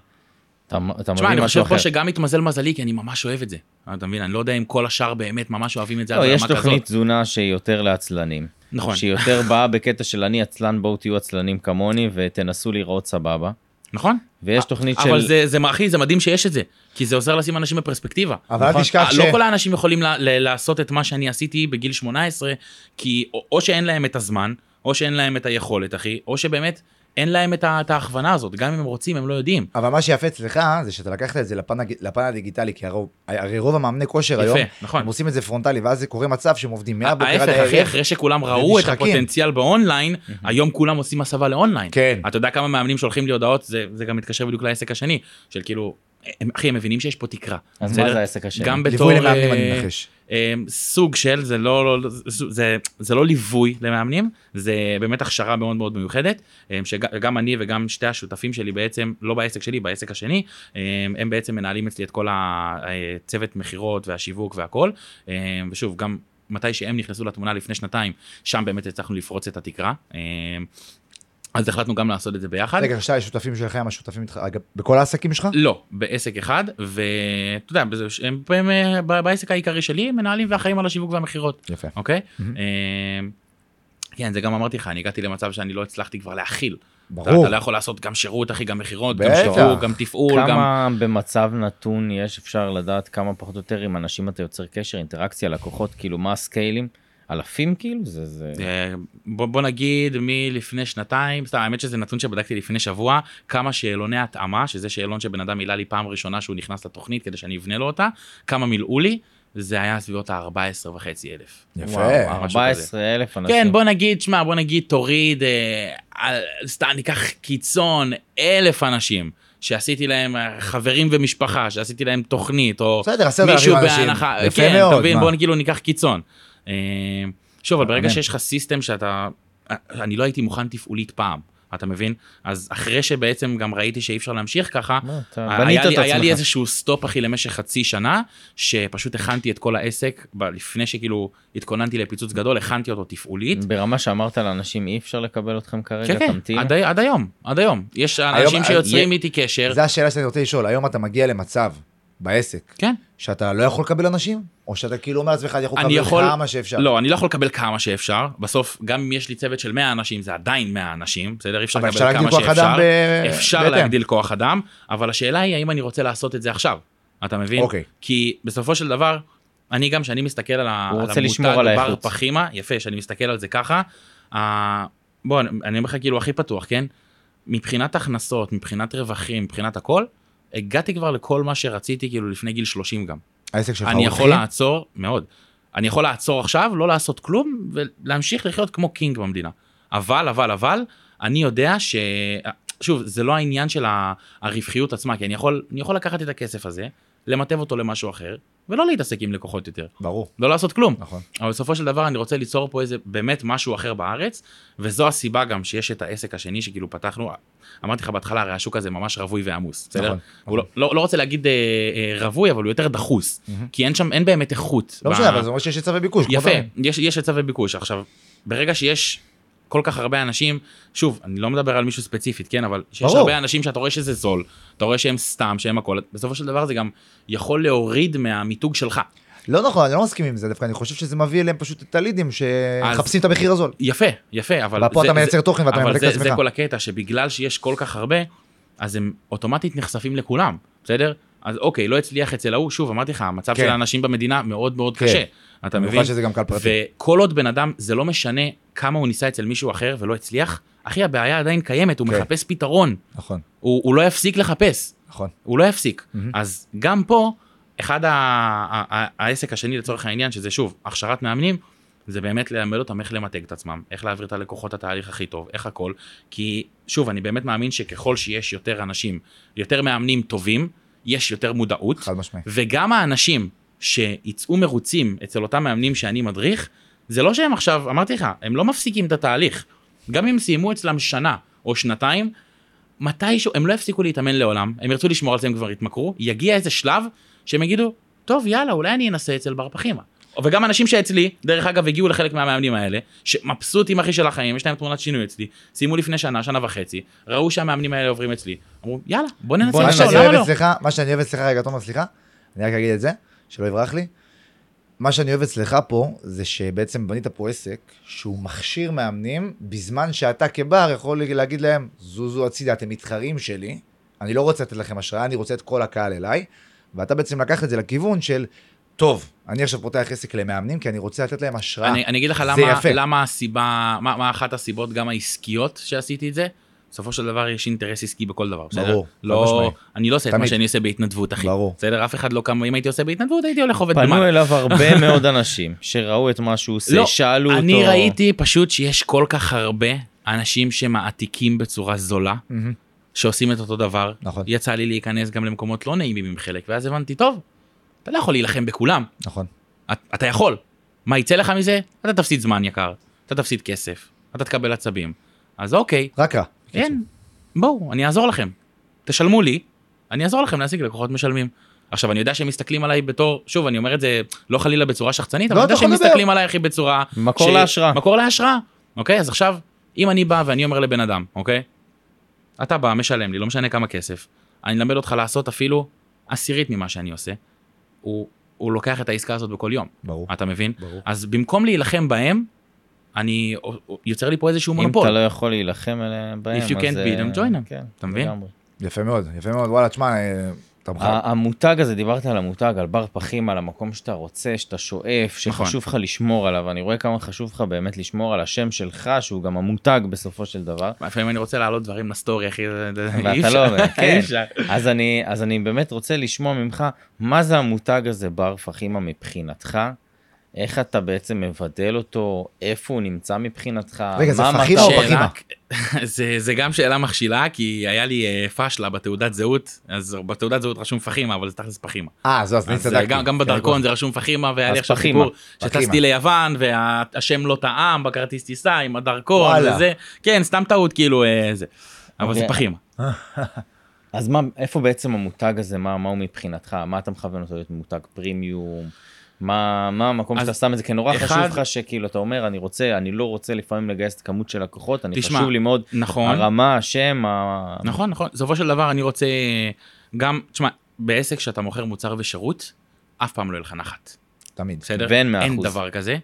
אתה, אתה תשמע, מביא אני משהו חושב אחר. פה שגם התמזל מזלי, כי אני ממש אוהב את זה. אתה מבין? אני לא יודע אם כל השאר באמת ממש אוהבים את זה, לא, עד יש רמה תוכנית כזאת. תזונה שהיא יותר לעצלנים. נכון, שהיא יותר באה בקטע של אני עצלן, בואו תהיו עצלנים כמוני ותנסו להיראות סבבה. נכון. ויש תוכנית של... אבל זה, זה, אחי, זה מדהים שיש את זה, כי זה עוזר לשים אנשים בפרספקטיבה. אבל אל נכון. תשכח ש... לא כל האנשים יכולים ל- ל- לעשות את מה שאני עשיתי בגיל 18, כי או- או שאין להם את הזמן, או שאין להם את היכולת, אחי, או שבאמת אין להם את ה- את ההכוונה הזאת, גם אם הם רוצים, הם לא יודעים. אבל מה שיפה אצלך זה שאתה לקחת את זה לפן, הג- לפן הדיגיטלי, כי הרוב, הרי רוב המאמני כושר יפה, היום, נכון. הם עושים את זה פרונטלי, ואז זה קורה מצב שהם עובדים מהבוקר עד ההפך, אחי, הערב. אחרי שכולם ראו את ונשחקים. הפוטנציאל באונליין, היום כולם עושים הסבה לאונליין. כן. אתה יודע כמה מאמנים שולחים לי הודעות, זה זה גם מתקשר בדיוק לעסק השני, של כאילו, הם- אחי, הם מבינים שיש פה תקרה. אז מה בסדר? זה העסק השני? גם בתור... ליווי למאמנים אה, אני מנחש. אה, סוג של, זה לא, לא- זה- זה, זה לא ליווי למאמנים, זה באמת הכשרה מאוד מאוד מיוחדת, אה, שגם אני וגם שתי השותפים שלי בעצם, לא בעסק שלי, בעסק השני, אה, הם בעצם מנהלים אצלי את כל הצוות מכירות והשיווק והכל, אה, ושוב, גם מתי שהם נכנסו לתמונה לפני שנתיים, שם באמת הצלחנו לפרוץ את התקרה. אה, אז החלטנו גם לעשות את זה ביחד. רגע, שאתה השותפים שלכם, השותפים איתך, אגב, בכל העסקים שלך? לא, בעסק אחד, ואתה יודע, בזה- הם, הם, אה, ב- בעסק העיקרי שלי הם מנהלים ואחראים על השיווק והמכירות. יפה. אוקיי? מהמם. אמ, כן, זה גם אמרתי לך, אני הגעתי למצב שאני לא הצלחתי כבר להכיל. אתה- ברור. אתה לא יכול לעשות גם שירות, אחי, גם מכירות, גם בטח. שיווק, גם תפעול, גם... כמה במצב נתון יש אפשר לדעת כמה פחות או יותר עם אנשים אתה יוצר קשר, אינטראקציה, לקוחות, כאילו מה הסקיילים? אלפים כאילו? זה זה... אה, בוא בוא נגיד מלפני שנתיים, סתם, האמת שזה נתון שבדקתי לפני שבוע, כמה שאלוני התאמה, שזה שאלון שבן אדם מילא לי פעם ראשונה שהוא נכנס לתוכנית כדי שאני אבנה לו אותה, כמה מילאו לי, זה היה סביבות ה-14 וחצי אלף. יפה. וואו, משהו כזה. 14 אלף אנשים. כן, בוא נגיד, שמע, בוא נגיד, תוריד, אה, על- סתם ניקח קיצון, אלף אנשים שעשיתי להם אה, חברים ומשפחה, שעשיתי להם תוכנית, או בסדר, עשרת מישהו אלפים אנשים. בהנחה, יפה כן, מאוד, אתה מבין, מה? בוא כאילו ניקח קיצון. אה, שוב, אבל ברגע מעניין. שיש לך סיסטם שאתה, אה, אני לא הייתי מוכן תפעולית פעם, אתה מבין? אז אחרי שבעצם גם ראיתי שאי אפשר להמשיך ככה, מה, אתה בנית היה את לי, היה לי עצמך. איזשהו סטופ אחי למשך חצי שנה שפשוט הכנתי את כל העסק ב- לפני שכאילו התכוננתי לפיצוץ גדול הכנתי אותו תפעולית. ברמה שאמרת לאנשים אי אפשר לקבל אתכם כן כרגע, כן תמתין. עד, הי- עד היום עד היום יש אנשים היום- שיוצרים אה, איתי קשר זו השאלה שאני רוצה לשאול, היום אתה מגיע למצב בעסק כן שאתה לא יכול לקבל אנשים? או שאתה כאילו אומר לעצמך, אני יכול אני לקבל יכול כמה שאפשר? לא אני לא יכול לקבל כמה שאפשר בסוף גם אם יש לי צוות של 100 אנשים זה עדיין 100 אנשים בסדר אי אפשר אבל לקבל אפשר כמה להגדיל כוח אדם שאפשר ב... אפשר בהתאם. להגדיל כוח אדם אבל השאלה היא האם אני רוצה לעשות את זה עכשיו אתה מבין אוקיי. כי בסופו של דבר, אני גם, כשאני מסתכל על, ה- הוא על רוצה לשמור על בר האיכות. פחימה, יפה, שאני מסתכל על זה ככה, uh, בוא, אני אני אומר לך כאילו הכי פתוח, כן? מבחינת הכנסות, מבחינת רווחים, מבחינת הכל, הגעתי כבר לכל מה שרציתי כאילו לפני גיל 30 גם. העסק שלך אני הוא יכול רווחי? לעצור, מאוד. אני יכול לעצור עכשיו, לא לעשות כלום, ולהמשיך לחיות כמו קינג במדינה. אבל, אבל, אבל, אני יודע ש... שוב, זה לא העניין של ה- הרווחיות עצמה, כי אני יכול, אני יכול לקחת את הכסף הזה, למטב אותו למשהו אחר, ולא להתעסק עם לקוחות יותר. ברור, לא לעשות כלום. נכון. אבל בסופו של דבר אני רוצה ליצור פה איזה באמת משהו אחר בארץ, וזו הסיבה גם שיש את העסק השני שכאילו פתחנו, אמרתי לך בהתחלה, הרי השוק הזה ממש רווי ועמוס, בסדר? נכון, הוא לא, לא, לא רוצה להגיד אה, אה, רווי, אבל הוא יותר דחוס, מהמם. כי אין שם, אין באמת איכות. לא ב- משנה, אבל זה אומר שיש היצע וביקוש. כמו יפה, תמיד. יש, יש היצע וביקוש. עכשיו, ברגע שיש כל כך הרבה אנשים, שוב, אני לא מדבר על מישהו ספציפית, כן, אבל שיש ברור. הרבה אנשים שאתה רואה שזה זול, אתה רואה שהם סתם, שהם הכל, בסופו של דבר זה גם יכול להוריד מהמיתוג שלך. לא נכון, אני לא מסכים עם זה דווקא, אני חושב שזה מביא אליהם פשוט את הלידים שמחפשים את המחיר הזול. יפה, יפה, אבל... אבל פה זה- אתה זה- מייצר תוכן ואתה אבל ממתק זה, את זה עצמך. כל הקטע, שבגלל שיש כל כך הרבה, אז הם אוטומטית נחשפים לכולם, בסדר? אז אוקיי, לא הצליח אצל ההוא, שוב, אמרתי לך, המצב כן. של האנשים במדינה מאוד מאוד כן. קשה, אתה במיוחד מבין? שזה גם קל פרטי. וכל עוד בן אדם, זה לא משנה כמה הוא ניסה אצל מישהו אחר ולא הצליח, אחי, הבעיה עדיין קיימת, הוא כן. מחפש פתרון, נכון, הוא, הוא לא יפסיק לחפש. נכון. הוא לא יפסיק. מהמם. אז גם פה, אחד ה- ה- ה- העסק השני לצורך העניין, שזה שוב, הכשרת מאמנים, זה באמת ללמד אותם איך למתג את עצמם, איך להעביר את הלקוחות את התהליך הכי טוב, איך הכל. כי שוב, אני באמת מאמין שככל שיש יותר אנשים, יותר מאמנים טובים, יש יותר מודעות, חד משמעי. וגם האנשים שיצאו מרוצים אצל אותם מאמנים שאני מדריך, זה לא שהם עכשיו, אמרתי לך, הם לא מפסיקים את התהליך. גם אם סיימו אצלם שנה או שנתיים, מתישהו, הם לא יפסיקו להתאמן לעולם, הם ירצו לשמור על זה, הם כבר יתמכרו, יגיע איזה שלב שהם יגידו, טוב יאללה, אולי אני אנסה אצל בר פחימה. וגם אנשים שאצלי, דרך אגב, הגיעו לחלק מהמאמנים האלה, שמבסוטים אחי של החיים, יש להם תמונת שינוי אצלי, סיימו לפני שנה, שנה וחצי, ראו שהמאמנים האלה עוברים אצלי, אמרו יאללה, בוא ננסה, מה עכשיו, שאני למה אוהב לא? אצלך, מה שאני אוהב אצלך, רגע, תומר, סליחה, אני רק אגיד את זה, שלא יברח לי. מה שאני אוהב אצלך פה, זה שבעצם בנית פה עסק שהוא מכשיר מאמנים, בזמן שאתה כבר יכול להגיד להם, זוזו הצידה, אתם מתחרים שלי, אני לא רוצה לתת לכם השראה, אני רוצה את כל הקהל אליי, ואתה בעצם לקחת את זה לכיוון של, טוב, אני עכשיו פותח עסק למאמנים, כי אני רוצה לתת להם השראה. אני, אני אגיד לך זה למה, יפה. למה הסיבה, מה, מה אחת הסיבות גם העסקיות שעשיתי את זה. בסופו של דבר יש אינטרס עסקי בכל דבר, בסדר? ברור, חד לא, משמעי. אני לא עושה את מה תמיד. שאני עושה בהתנדבות, אחי. ברור. בסדר? אף אחד לא קם, אם הייתי עושה בהתנדבות, הייתי הולך עובד פנו במה. אליו הרבה מאוד אנשים שראו את מה שהוא עושה, לא, שאלו אותו. אני ראיתי פשוט שיש כל כך הרבה אנשים שמעתיקים בצורה זולה, מהמם. שעושים את אותו דבר. נכון. יצא לי להיכנס גם למקומות לא נעימים עם חלק, ואז הבנתי, טוב, אתה לא יכול להילחם בכולם, נכון. את- אתה יכול. מה יצא לך מזה? אתה תפסיד זמן יקר, אתה תפסיד כסף, אתה תקבל עצבים. אז אוקיי, רק רע. אין, בואו, אני אעזור לכם. תשלמו לי, אני אעזור לכם להשיג לקוחות משלמים. עכשיו, אני יודע שהם מסתכלים עליי בתור, שוב, אני אומר את זה לא חלילה בצורה שחצנית, אבל לא, אני יודע אתה שהם יכול לדבר. מסתכלים עליי הכי בצורה... מקור ש- להשראה. מקור להשראה, אוקיי? אז עכשיו, אם אני בא ואני אומר לבן אדם, אוקיי? אתה בא, משלם לי, לא משנה כמה כסף. אני אלמד אותך לעשות אפילו עשירית ממה שאני עושה. הוא, הוא לוקח את העסקה הזאת בכל יום, ברור. אתה מבין? ברור. אז במקום להילחם בהם, אני יוצר לי פה איזשהו אם אתה מונופול. לא יכול להילחם אליהם בהם, If you can't אז, beat them, אה, join them. כן, אתה מבין? לגמרי. יפה מאוד, יפה מאוד. וואלה, תשמע, אה, אתה מחר. ה- המותג הזה, דיברת על המותג, על בר פחים, על המקום שאתה רוצה, שאתה שואף, נכון. שחשוב לך לשמור עליו. אני רואה כמה חשוב לך באמת לשמור על השם שלך, שהוא גם המותג בסופו של דבר. לפעמים אני רוצה להעלות דברים לסטורי, אחי, זה- זה- זה- אי ואתה אפשר. לא, אי כן. אפשר. אז אני, אז אני באמת רוצה לשמוע ממך, מה זה המותג הזה בר פחימה מבחינתך? איך אתה בעצם מבדל אותו? איפה הוא נמצא מבחינתך? רגע, זה מה פחימה המטרה? או פחימה? שאלה- זה- זה גם שאלה מכשילה, כי היה לי אה, פשלה בתעודת זהות, אז בתעודת זהות רשום פחימה, אבל זה תכלס פחימה. אה, זהו, אז אני אז צדקתי. גם- גם בדרכון זה רשום פחימה, והיה כן, לי אז עכשיו פחימה. סיפור שטסתי פחימה. ליוון, והשם לא טעם בכרטיס טיסה עם הדרכון וואלה. וזה, כן, סתם טעות, כאילו, אה, זה. אבל זה אוקיי. פחימה. אז מה, איפה בעצם המותג הזה, מה, מה הוא מבחינתך? מה אתה מכוון אותו להיות מותג פרימיום? מה, מה המקום אז שאתה שם את זה? כי נורא אחד- חשוב לך שכאילו, אתה אומר, אני רוצה, אני לא רוצה לפעמים לגייס את כמות של לקוחות, אני תשמע, חשוב לי מאוד, נכון. הרמה, השם, ה... נכון נכון בסופו של דבר אני רוצה גם תשמע בעסק שאתה מוכר מוצר ושירות אף פעם לא יהיה לך נחת תמיד. בסדר ואין 100%. אין דבר כזה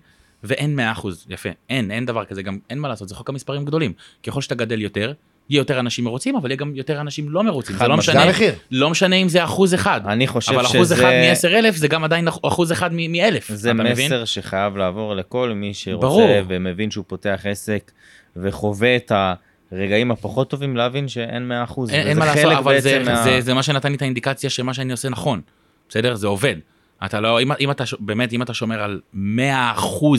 ואין 100 אחוז יפה אין אין דבר כזה גם אין מה לעשות זה חוק המספרים גדולים ככל שאתה גדל יותר יהיה יותר אנשים מרוצים אבל יהיה גם יותר אנשים לא מרוצים חד זה לא משמעית. זה משנה המחיר. לא משנה אם זה אחוז אחד אני חושב אבל אחוז אחד שזה מ-10,000 זה גם עדיין אחוז אחד מ-1,000 זה מסר מבין? שחייב לעבור לכל מי שרוצה ברור. ומבין שהוא פותח עסק וחווה את הרגעים הפחות טובים, להבין שאין 100%. אין, אין וזה מה לעשות, חלק אבל זה, בעצם מה- זה, זה מה שנתן לי את האינדיקציה שמה שאני עושה נכון, בסדר? זה עובד. אתה לא, אם, אם אתה, ש- באמת, אם אתה שומר על 100%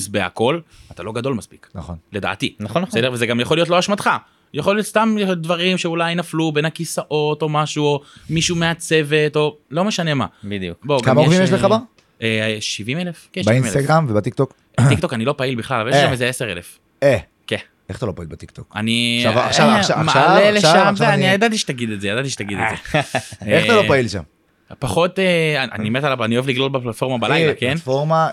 בהכל, אתה לא גדול מספיק, נכון. לדעתי. נכון, נכון. בסדר? וזה גם יכול להיות לא אשמתך. יכול להיות סתם דברים שאולי נפלו בין הכיסאות או משהו, או מישהו מהצוות, או לא משנה מה. בדיוק. בוא, גם כמה עוקבים יש אה, לך בה? אה, 70 אלף. באינסטגרם ובטיקטוק? טיקטוק אני לא פעיל בכלל, אבל יש אה. שם איזה 10 אלף. אה. כן. איך אתה לא פועל בטיקטוק? אני עכשיו, עכשיו, אה, עכשיו, מעלה עכשיו, לשם, עכשיו ואני אני- ידעתי שתגיד את זה, ידעתי שתגיד את זה. איך אתה אה, לא פעיל שם? פחות, אה, אני מת על, הפ- אני אוהב לגלול בפלטפורמה בלילה, אה, כן? פלטפורמה,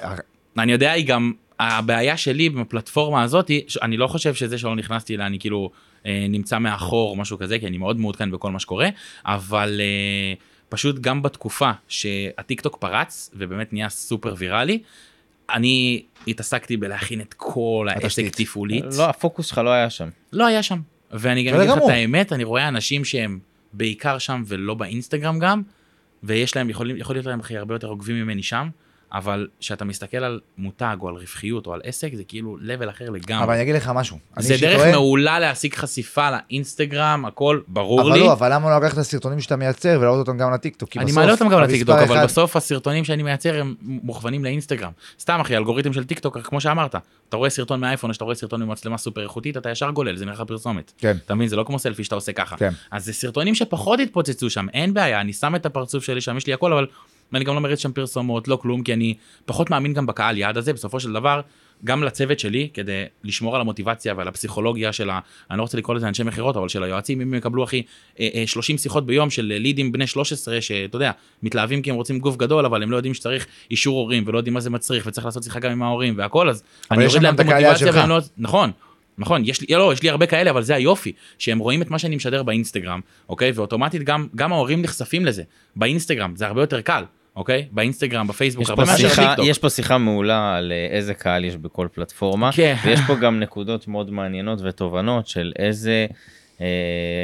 אני יודע, היא גם, הבעיה שלי בפלטפורמה הזאת, היא ש- אני לא חושב שזה שלא נכנסתי אליה, אני כאילו אה, נמצא מאחור או משהו כזה, כי אני מאוד מעודכן בכל מה שקורה, אבל אה, פשוט גם בתקופה שהטיקטוק פרץ, ובאמת נהיה סופר ויראלי, אני התעסקתי בלהכין את כל העסק התשתית. תפעולית. לא, הפוקוס שלך לא היה שם. לא היה שם. ואני גם בסדר אגיד לך את גמור. האמת, אני רואה אנשים שהם בעיקר שם ולא באינסטגרם גם, ויש להם, יכולים, יכול להיות להם הכי הרבה יותר עוקבים ממני שם, אבל כשאתה מסתכל על מותג או על רווחיות או על עסק, זה כאילו לבל אחר אבל לגמרי. אני אגיד לך משהו. אני זה אישית דרך טוען- מעולה להשיג חשיפה לאינסטגרם, הכל ברור אבל לי. לא, אבל למה לא לקחת את הסרטונים שאתה מייצר ולהעלות אותם גם לטיקטוק? כי אני בסוף מעלה אותם גם המספר לטיקטוק, אבל אחד- בסוף הסרטונים שאני מייצר הם מוכוונים לאינסטגרם. סתם אחי, אלגוריתם של טיקטוק, כמו שאמרת, אתה רואה סרטון מהאייפון, או שאתה רואה סרטון ממצלמה סופר איכותית, אתה ישר גולל, זה נראה לך פרסומת. כן. אתה מבין? זה לא כמו סלפי שאתה עושה ככה. כן. אז זה סרטונים שפחות התפוצצו שם, אין בעיה, אני שם את הפרצוף שלי שם, יש לי הכל, אבל אני גם לא מריץ שם פרסומות, לא כלום, כי אני פחות מאמין גם בקהל יעד הזה, בסופו של דבר, גם לצוות שלי, כדי לשמור על המוטיבציה ועל הפסיכולוגיה של ה... אני לא רוצה לקרוא לזה אנשי מכירות, אבל של היועצים, אם הם יקבלו, אחי, אה, אה, 30 שיחות ביום של לידים בני 13, שאתה יודע, מתלהבים כי הם רוצים גוף גדול, אבל הם לא יודעים שצריך אישור הורים, ולא יודעים מה זה מצריך, וצריך לעשות שיחה גם עם ההורים והכל, אז יש אני יורד שם להם את גם את הקהל יעד המוטיבציה, שלך. והם לא... נכון. נכון, יש לי, לא, יש לי הרבה כאלה, אבל זה היופי, שהם רואים את מה שאני משדר באינסטגרם, אוקיי? ואוטומטית גם, גם ההורים נחשפים לזה, באינסטגרם, זה הרבה יותר קל, אוקיי? באינסטגרם, בפייסבוק, יש הרבה פה, מאשר שיחה, בטיקטוק. יש פה שיחה מעולה על אה, איזה קהל יש בכל פלטפורמה, כן. ויש פה גם נקודות מאוד מעניינות ותובנות של איזה אה,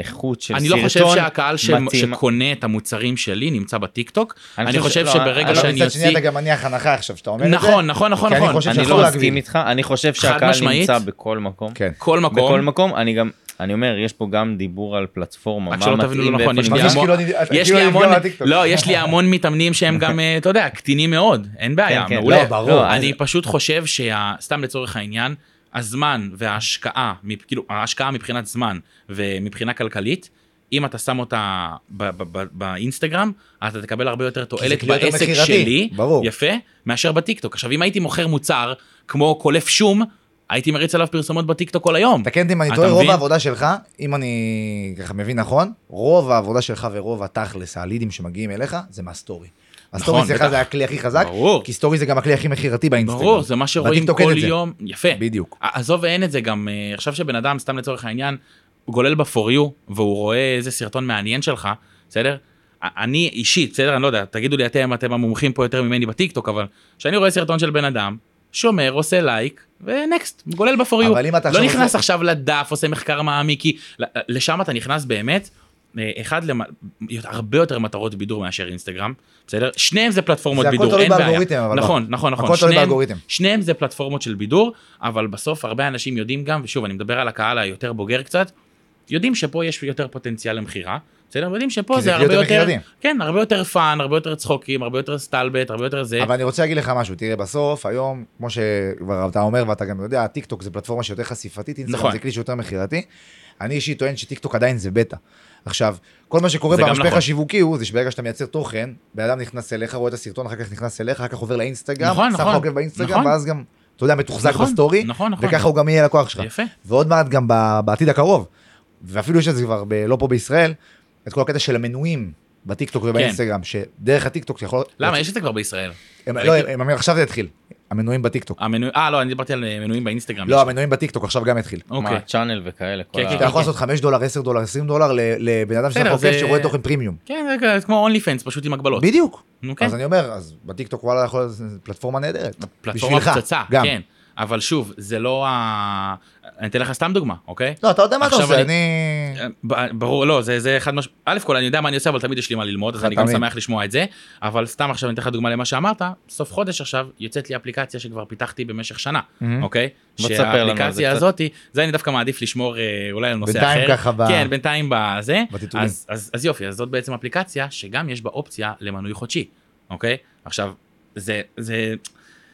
איכות של אני סרטון לא חושב שהקהל ש... מתאים. שקונה את המוצרים שלי נמצא בטיקטוק, אני אני, חושב חושב ש- לא, שברגע אני- אבל שאני מצד שני אוציא... אתה גם מניח הנחה עכשיו שאתה אומר את זה. נכון, נכון, נכון, כי אני נכון. חושב אני שאסור לא להגביל. מסכים איתך, אני חושב שהקהל משמעית. נמצא בכל מקום. כן. כל מקום. בכל מקום, אני גם, אני אומר, יש פה גם דיבור על פלטפורמה, רק מה שלא תבינו מתאים לא נכון, ואיפה יש לי מרגיש נמצא. המון, כאילו אני- יש כאילו לי אני המון, נפגע מהטיקטוק. לא, יש לי המון מתאמנים שהם גם, אה, אתה יודע, קטינים מאוד, אין בעיה, כן, כן, מעולה. לא, ברור. לא, אז- אני פשוט חושב שה... סתם לצורך העניין, הזמן וההשקעה, מפ- כאילו, ההשקעה מבחינת זמן ומבחינה כלכלית, אם אתה שם אותה ב- ב- ב- באינסטגרם, אתה תקבל הרבה יותר תועלת כאילו יותר בעסק מכירתי, שלי, ברור. יפה, מאשר בטיקטוק. עכשיו, אם הייתי מוכר מוצר כמו קולף שום, הייתי מריץ עליו פרסומות בטיקטוק כל היום. תקן אותי כן אם אני אתה טועה, רוב מבין? העבודה שלך, אם אני ככה מבין נכון, רוב העבודה שלך ורוב התכלס, הלידים שמגיעים אליך, זה מהסטורי. הסטורי נכון, אצלך בטח. זה הכלי הכי חזק, ברור. כי סטורי זה גם הכלי הכי מכירתי באינסטגרם. ברור, זה מה שרואים בטיקטוק אין כל את זה. יום. יפה. בדיוק. ע- עזוב אין את זה גם אה, עכשיו שבן אדם סתם לצורך העניין גולל ב-for you והוא רואה איזה סרטון מעניין שלך בסדר. א- אני אישית בסדר אני לא יודע תגידו לי אתם אתם המומחים פה יותר ממני בטיקטוק אבל כשאני רואה סרטון של בן אדם שומר עושה לייק ונקסט גולל ב-for you. אבל אם אתה לא עכשיו נכנס עושה- עכשיו לדף עושה מחקר מעמיק כי ל- לשם אתה נכנס באמת. אה, אחד למ... הרבה יותר מטרות בידור מאשר אינסטגרם בסדר שניהם זה פלטפורמות זה הכל בידור תלוי אין בעיה באלגוריתם, אבל לא. נכון נכון נכון הכל תלוי שניהם- באלגוריתם. שניהם זה פלטפורמות של בידור, אבל בסוף הרבה אנשים יודעים גם, ושוב, אני מדבר על הקהל היותר בוגר קצת, יודעים שפה יש יותר פוטנציאל למכירה, בסדר? יודעים שפה כי זה, זה כלי הרבה יותר יותר, מכירתי. כן, הרבה יותר פאן, הרבה יותר צחוקים, הרבה יותר סטלבט, הרבה יותר זה. אבל אני רוצה להגיד לך משהו, תראה, בסוף, היום, כמו שכבר אתה אומר ואתה גם יודע, טיקטוק זה פלטפורמה שיותר חשיפתית, אינסטגרם נכון. זה כלי שיותר מכירתי. אני אישית טוען שטיקטוק עדיין זה בטא. עכשיו, כל מה שקורה זה גם במשפך נכון. השיווקי הוא, זה שברגע שאתה מייצר תוכן, בן אדם נכנס אליך, רואה את הסרטון, אחר כך נכנס אליך, אחר כך עובר לאינסטגרם, נכון, שם נכון, חוקר באינסטגרם, נכון. ואז גם, אתה יודע, מתוחזק נכון, בסטורי, נכון, נכון. וככה הוא גם יהיה לקוח שלך. יפה. ועוד מעט גם ב- בעתיד הקרוב, ואפילו יש את זה כבר ב- לא פה בישראל, את כל הקטע של המנויים בטיקטוק ובאינסטגרם, שדרך הטיקטוק אתה יכול... כן. למה? יש את זה כבר בישראל. הם, ראיתי- לא, הם, הם, עכשיו זה התחיל, המנויים בטיקטוק. המנוי... אה, לא, אני דיברתי על אה, מנויים באינסטגרם. לא, יש. המנויים בטיקטוק עכשיו גם התחיל. אוקיי. מה, צ'אנל וכאלה, כל כן, ה... כן, אתה יכול לעשות 5 דולר, 10 דולר, 20 דולר ל- לבן אדם בסדר, שאתה חוקר זה- שרואה תוכן פרימיום. כן, זה כ- כמו אונלי פנס, פשוט עם הגבלות. בדיוק. נו, כן. אז אני אומר, אז בטיקטוק וואלה יכול להיות זה פלטפורמה נהדרת. פלטפורמה בשבילך, פצצה, גם. כן. אבל שוב, זה לא ה... אני אתן לך סתם דוגמה, אוקיי? לא, אתה יודע מה אתה עכשיו עושה, אני- אני... ב- ברור לא זה זה חד משמעית א' כל אני יודע מה אני עושה אבל תמיד יש לי מה ללמוד אז אני גם תמיד. שמח לשמוע את זה אבל סתם עכשיו אני אתן לך דוגמה למה שאמרת סוף חודש עכשיו יוצאת לי אפליקציה שכבר פיתחתי במשך שנה מהמם. אוקיי Mm-hmm. בוא תספר לנו על זה שהאפליקציה קצת. הזאתי זה אני דווקא מעדיף לשמור אה, אולי על נושא אחר בינתיים ככה ב- כן בינתיים בזה בטיטולים. אז, אז, אז יופי אז זאת בעצם אפליקציה שגם יש בה אופציה למנוי חודשי אוקיי עכשיו זה זה.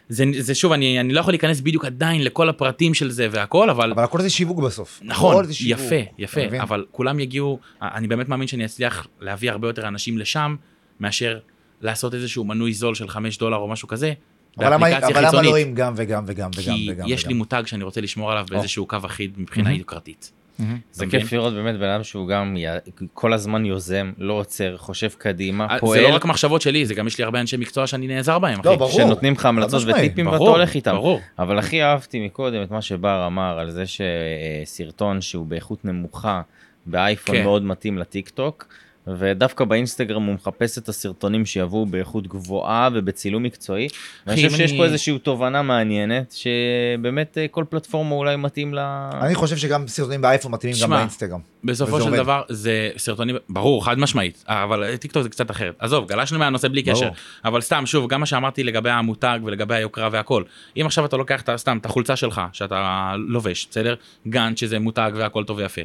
זה, זה שוב אני, אני לא יכול להיכנס בדיוק עדיין לכל הפרטים של זה והכל אבל אבל הכל זה שיווק בסוף. נכון, הכל זה שיווק. יפה, אתה יפה, מבין? אבל כולם יגיעו, אני באמת מאמין שאני אצליח להביא הרבה יותר אנשים לשם, מאשר לעשות איזשהו מנוי זול של 5 דולר או משהו כזה, אבל למה- באפליקציה אבל למה לא חיצונית, עם גם וגם וגם וגם כי וגם? יש לי וגם? מותג שאני רוצה לשמור עליו באיזשהו קו אחיד מבחינה מהמם. יוקרתית. מהמם. זה אתה כיף מבין? לראות באמת בן אדם שהוא גם י... כל הזמן יוזם, לא עוצר, חושב קדימה, זה פועל, לא רק מחשבות שלי, זה גם יש לי הרבה אנשי מקצוע שאני נעזר בהם, אחי. לא, ברור. שנותנים לך המלצות משמעית, וטיפים ואתה ברור, הולך איתם. ברור. אבל הכי אהבתי מקודם את מה שבר אמר על זה שסרטון שהוא באיכות נמוכה באייפון כן. כן. מאוד מתאים לטיק טוק. ודווקא באינסטגרם הוא מחפש את הסרטונים שיבואו באיכות גבוהה ובצילום מקצועי. ואני אם חושב שיש אני- פה איזושהי תובנה מעניינת, שבאמת אה, כל פלטפורמה אולי מתאים ל... אני חושב שגם סרטונים באייפון מתאימים גם שמע, באינסטגרם. בסופו וזה של עובד. דבר זה סרטונים ברור חד משמעית אה, אבל טיקטוק זה קצת אחרת עזוב גלשנו מהנושא בלי ברור. קשר אבל סתם שוב גם מה שאמרתי לגבי המותג ולגבי היוקרה והכל אם עכשיו אתה לוקח את ה- סתם את החולצה שלך שאתה לובש בסדר גאנט שזה מותג והכל טוב ויפה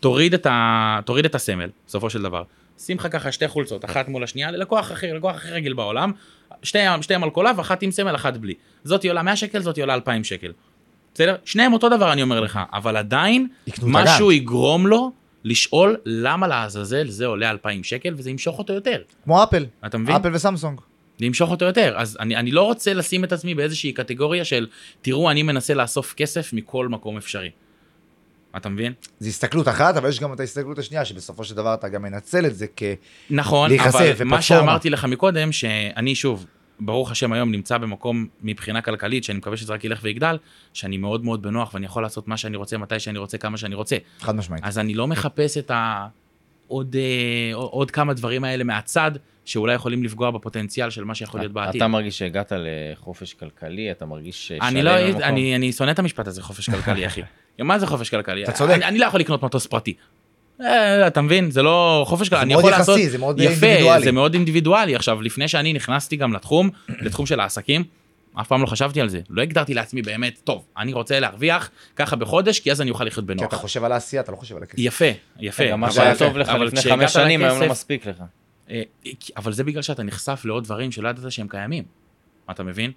תוריד את ה... תוריד את הסמל בסופו של דבר שים לך ככה שתי חולצות אחת מול השנייה ללקוח אחר לקוח הכי רגיל בעולם שתיהם שתיהם על קולב אחת עם סמל אחת בלי זאתי עולה 100 שקל זאתי עולה 2,000 שקל. בסדר? שניהם אותו דבר אני אומר לך, אבל עדיין יקנו את משהו יגרום לו לשאול למה לעזאזל זה עולה 2,000 שקל וזה ימשוך אותו יותר. כמו אפל, אתה מבין? אפל וסמסונג. זה ימשוך אותו יותר. אז אני, אני לא רוצה לשים את עצמי באיזושהי קטגוריה של תראו אני מנסה לאסוף כסף מכל מקום אפשרי. אתה מבין? זה הסתכלות אחת, אבל יש גם את ההסתכלות השנייה, שבסופו של דבר אתה גם מנצל את זה כ... נכון, להיחשף, אבל ופלטפורמה. מה שאמרתי לך מקודם, שאני שוב, ברוך השם היום נמצא במקום מבחינה כלכלית, שאני מקווה שזה רק ילך ויגדל, שאני מאוד מאוד בנוח ואני יכול לעשות מה שאני רוצה, מתי שאני רוצה, כמה שאני רוצה. חד משמעית. אז אני לא מחפש את ה... עוד, אה, עוד כמה דברים האלה מהצד, שאולי יכולים לפגוע בפוטנציאל של מה שיכול להיות בעתיד. אתה מרגיש שהגעת לחופש כלכלי, אתה מרגיש ששלם אני לא, במקום? אני, אני שונא את המשפט הזה, חופש כלכלי, אחי. מה זה חופש כלכלי? אתה צודק. אני, אני לא יכול לקנות מטוס פרטי. אה, אתה מבין? זה לא חופש כלכלי. זה אני מאוד יכול יחסי, לעשות... זה מאוד יפה, אינדיבידואלי. זה מאוד אינדיבידואלי. עכשיו, לפני שאני נכנסתי גם לתחום, לתחום של העסקים, אף פעם לא חשבתי על זה. לא הגדרתי לעצמי באמת, טוב, אני רוצה להרוויח ככה בחודש, כי אז אני אוכל לחיות כי אתה בנוח. חושב על העשייה, אתה לא חושב על הכסף. יפה, יפה. גם מה אבל- שהיה טוב לך אבל לפני כשהגעת חמש שנים, היום לא לכסף, מספיק לך. אה, כי- אבל זה בגלל שאתה נחשף לעוד דברים שלא ידעת שהם קיימים. אתה מבין?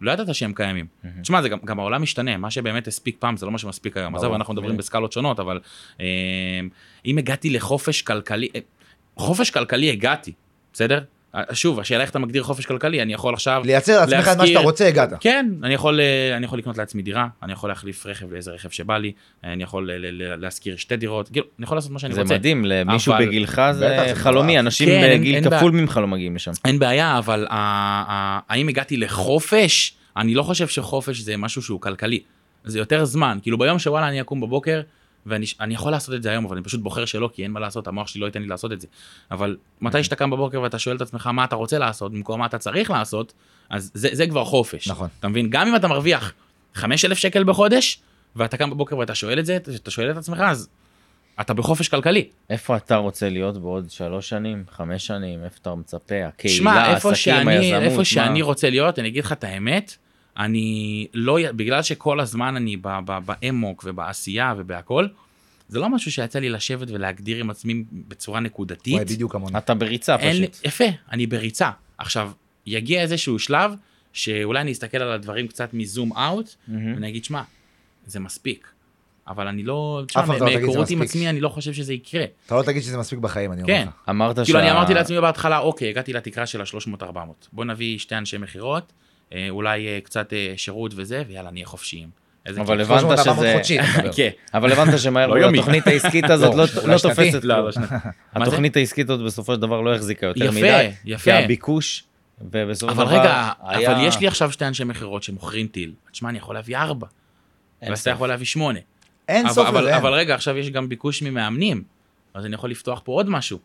לא ידעת שהם קיימים. מהמם. תשמע, זה גם, גם העולם משתנה, מה שבאמת הספיק פעם זה לא מה שמספיק היום. ברור, עזוב, אנחנו מדברים בדיוק. בסקלות שונות, אבל אה, אם הגעתי לחופש כלכלי, אה, חופש כלכלי הגעתי, בסדר? אה, שוב, השאלה איך אתה מגדיר חופש כלכלי, אני יכול עכשיו... לייצר לעצמך את מה להזכיר- שאתה רוצה, הגעת. כן, אני יכול, אה, אני יכול לקנות לעצמי דירה, אני יכול להחליף רכב לאיזה רכב שבא לי, אה, אני יכול ל- ל- ל- להשכיר שתי דירות, כאילו, אני יכול לעשות מה שאני זה רוצה. מדהים, למישהו אבל- בגילך זה בטח, זה חלומי, מטורף. אנשים כן, אין- בגיל אין כפול ממך לא מגיעים לשם. אין בעיה, אבל ה- ה- האם הגעתי לחופש? אני לא חושב שחופש זה משהו שהוא כלכלי. זה יותר זמן. כאילו ביום שוואלה אני אקום בבוקר, ואני אני יכול לעשות את זה היום, אבל אני פשוט בוחר שלא, כי אין מה לעשות, המוח שלי לא ייתן לי לעשות את זה. אבל מתי שאתה קם בבוקר ואתה שואל את עצמך מה אתה רוצה לעשות, במקום מה אתה צריך לעשות, אז זה, זה כבר חופש. נכון. אתה מבין? גם אם אתה מרוויח 5,000 שקל בחודש, ואתה קם בבוקר ואתה שואל את זה, אתה שואל את עצמך, אז אתה בחופש כלכלי. איפה אתה רוצה להיות בעוד שלוש שנים, חמש שנים, איפה אתה מצפה, הקהילה, שמע, איפה העסקים, שאני, היזמות, איפה מה? שאני רוצה להיות, אני אגיד לך את האמת, אני לא, י- בגלל שכל הזמן אני ב- ב- באמוק ובעשייה ובהכל, זה לא משהו שיצא לי לשבת ולהגדיר עם עצמי בצורה נקודתית. וואי, בדיוק כמוני. אתה בריצה אין לי- פשוט. יפה, אני בריצה. עכשיו, יגיע איזשהו שלב שאולי אני אסתכל על הדברים קצת מזום אאוט, מהמם. ואני אגיד, שמע, זה מספיק. אבל אני לא, תשמע, פעם אתה לא תגיד, זה מהיכרות עם מספיק. עצמי, אני לא חושב שזה יקרה. אתה לא תגיד שזה מספיק בחיים, אני אומר כן. לך. אמרת שה... כאילו אני אמרתי לעצמי בהתחלה, אוקיי, הגעתי לתקרה של ה-300-400. בוא נביא שתי אנשי מכירות, אה, אולי אה, קצת אה, שירות וזה, ויאללה, נהיה חופשיים. איזה אבל כיף. הבנת 300, 400 שזה- חודשי, אתה מדבר. כן. אבל הבנת שמהר לא מאוד יומי. התוכנית העסקית הזאת לא, לא- אולי לא שנתי. תופסת. לא, לא, שנייה. מה זה? התוכנית העסקית הזאת בסופו של דבר לא החזיקה יותר יפה, מדי. יפה. כי הביקוש, ובסופו של אבל דבר... רגע, היה- אבל יש לי עכשיו שתי אנשי מכירות שמוכרים טיל. תשמע, אני יכול להביא ארבע, אין ואז אתה ספק. יכול להביא שמונה. אין אבל- סוף אבל- לזה. אין. אבל רגע, עכשיו יש גם ביקוש ממאמנים, אז אני יכול לפתוח פה עוד משהו.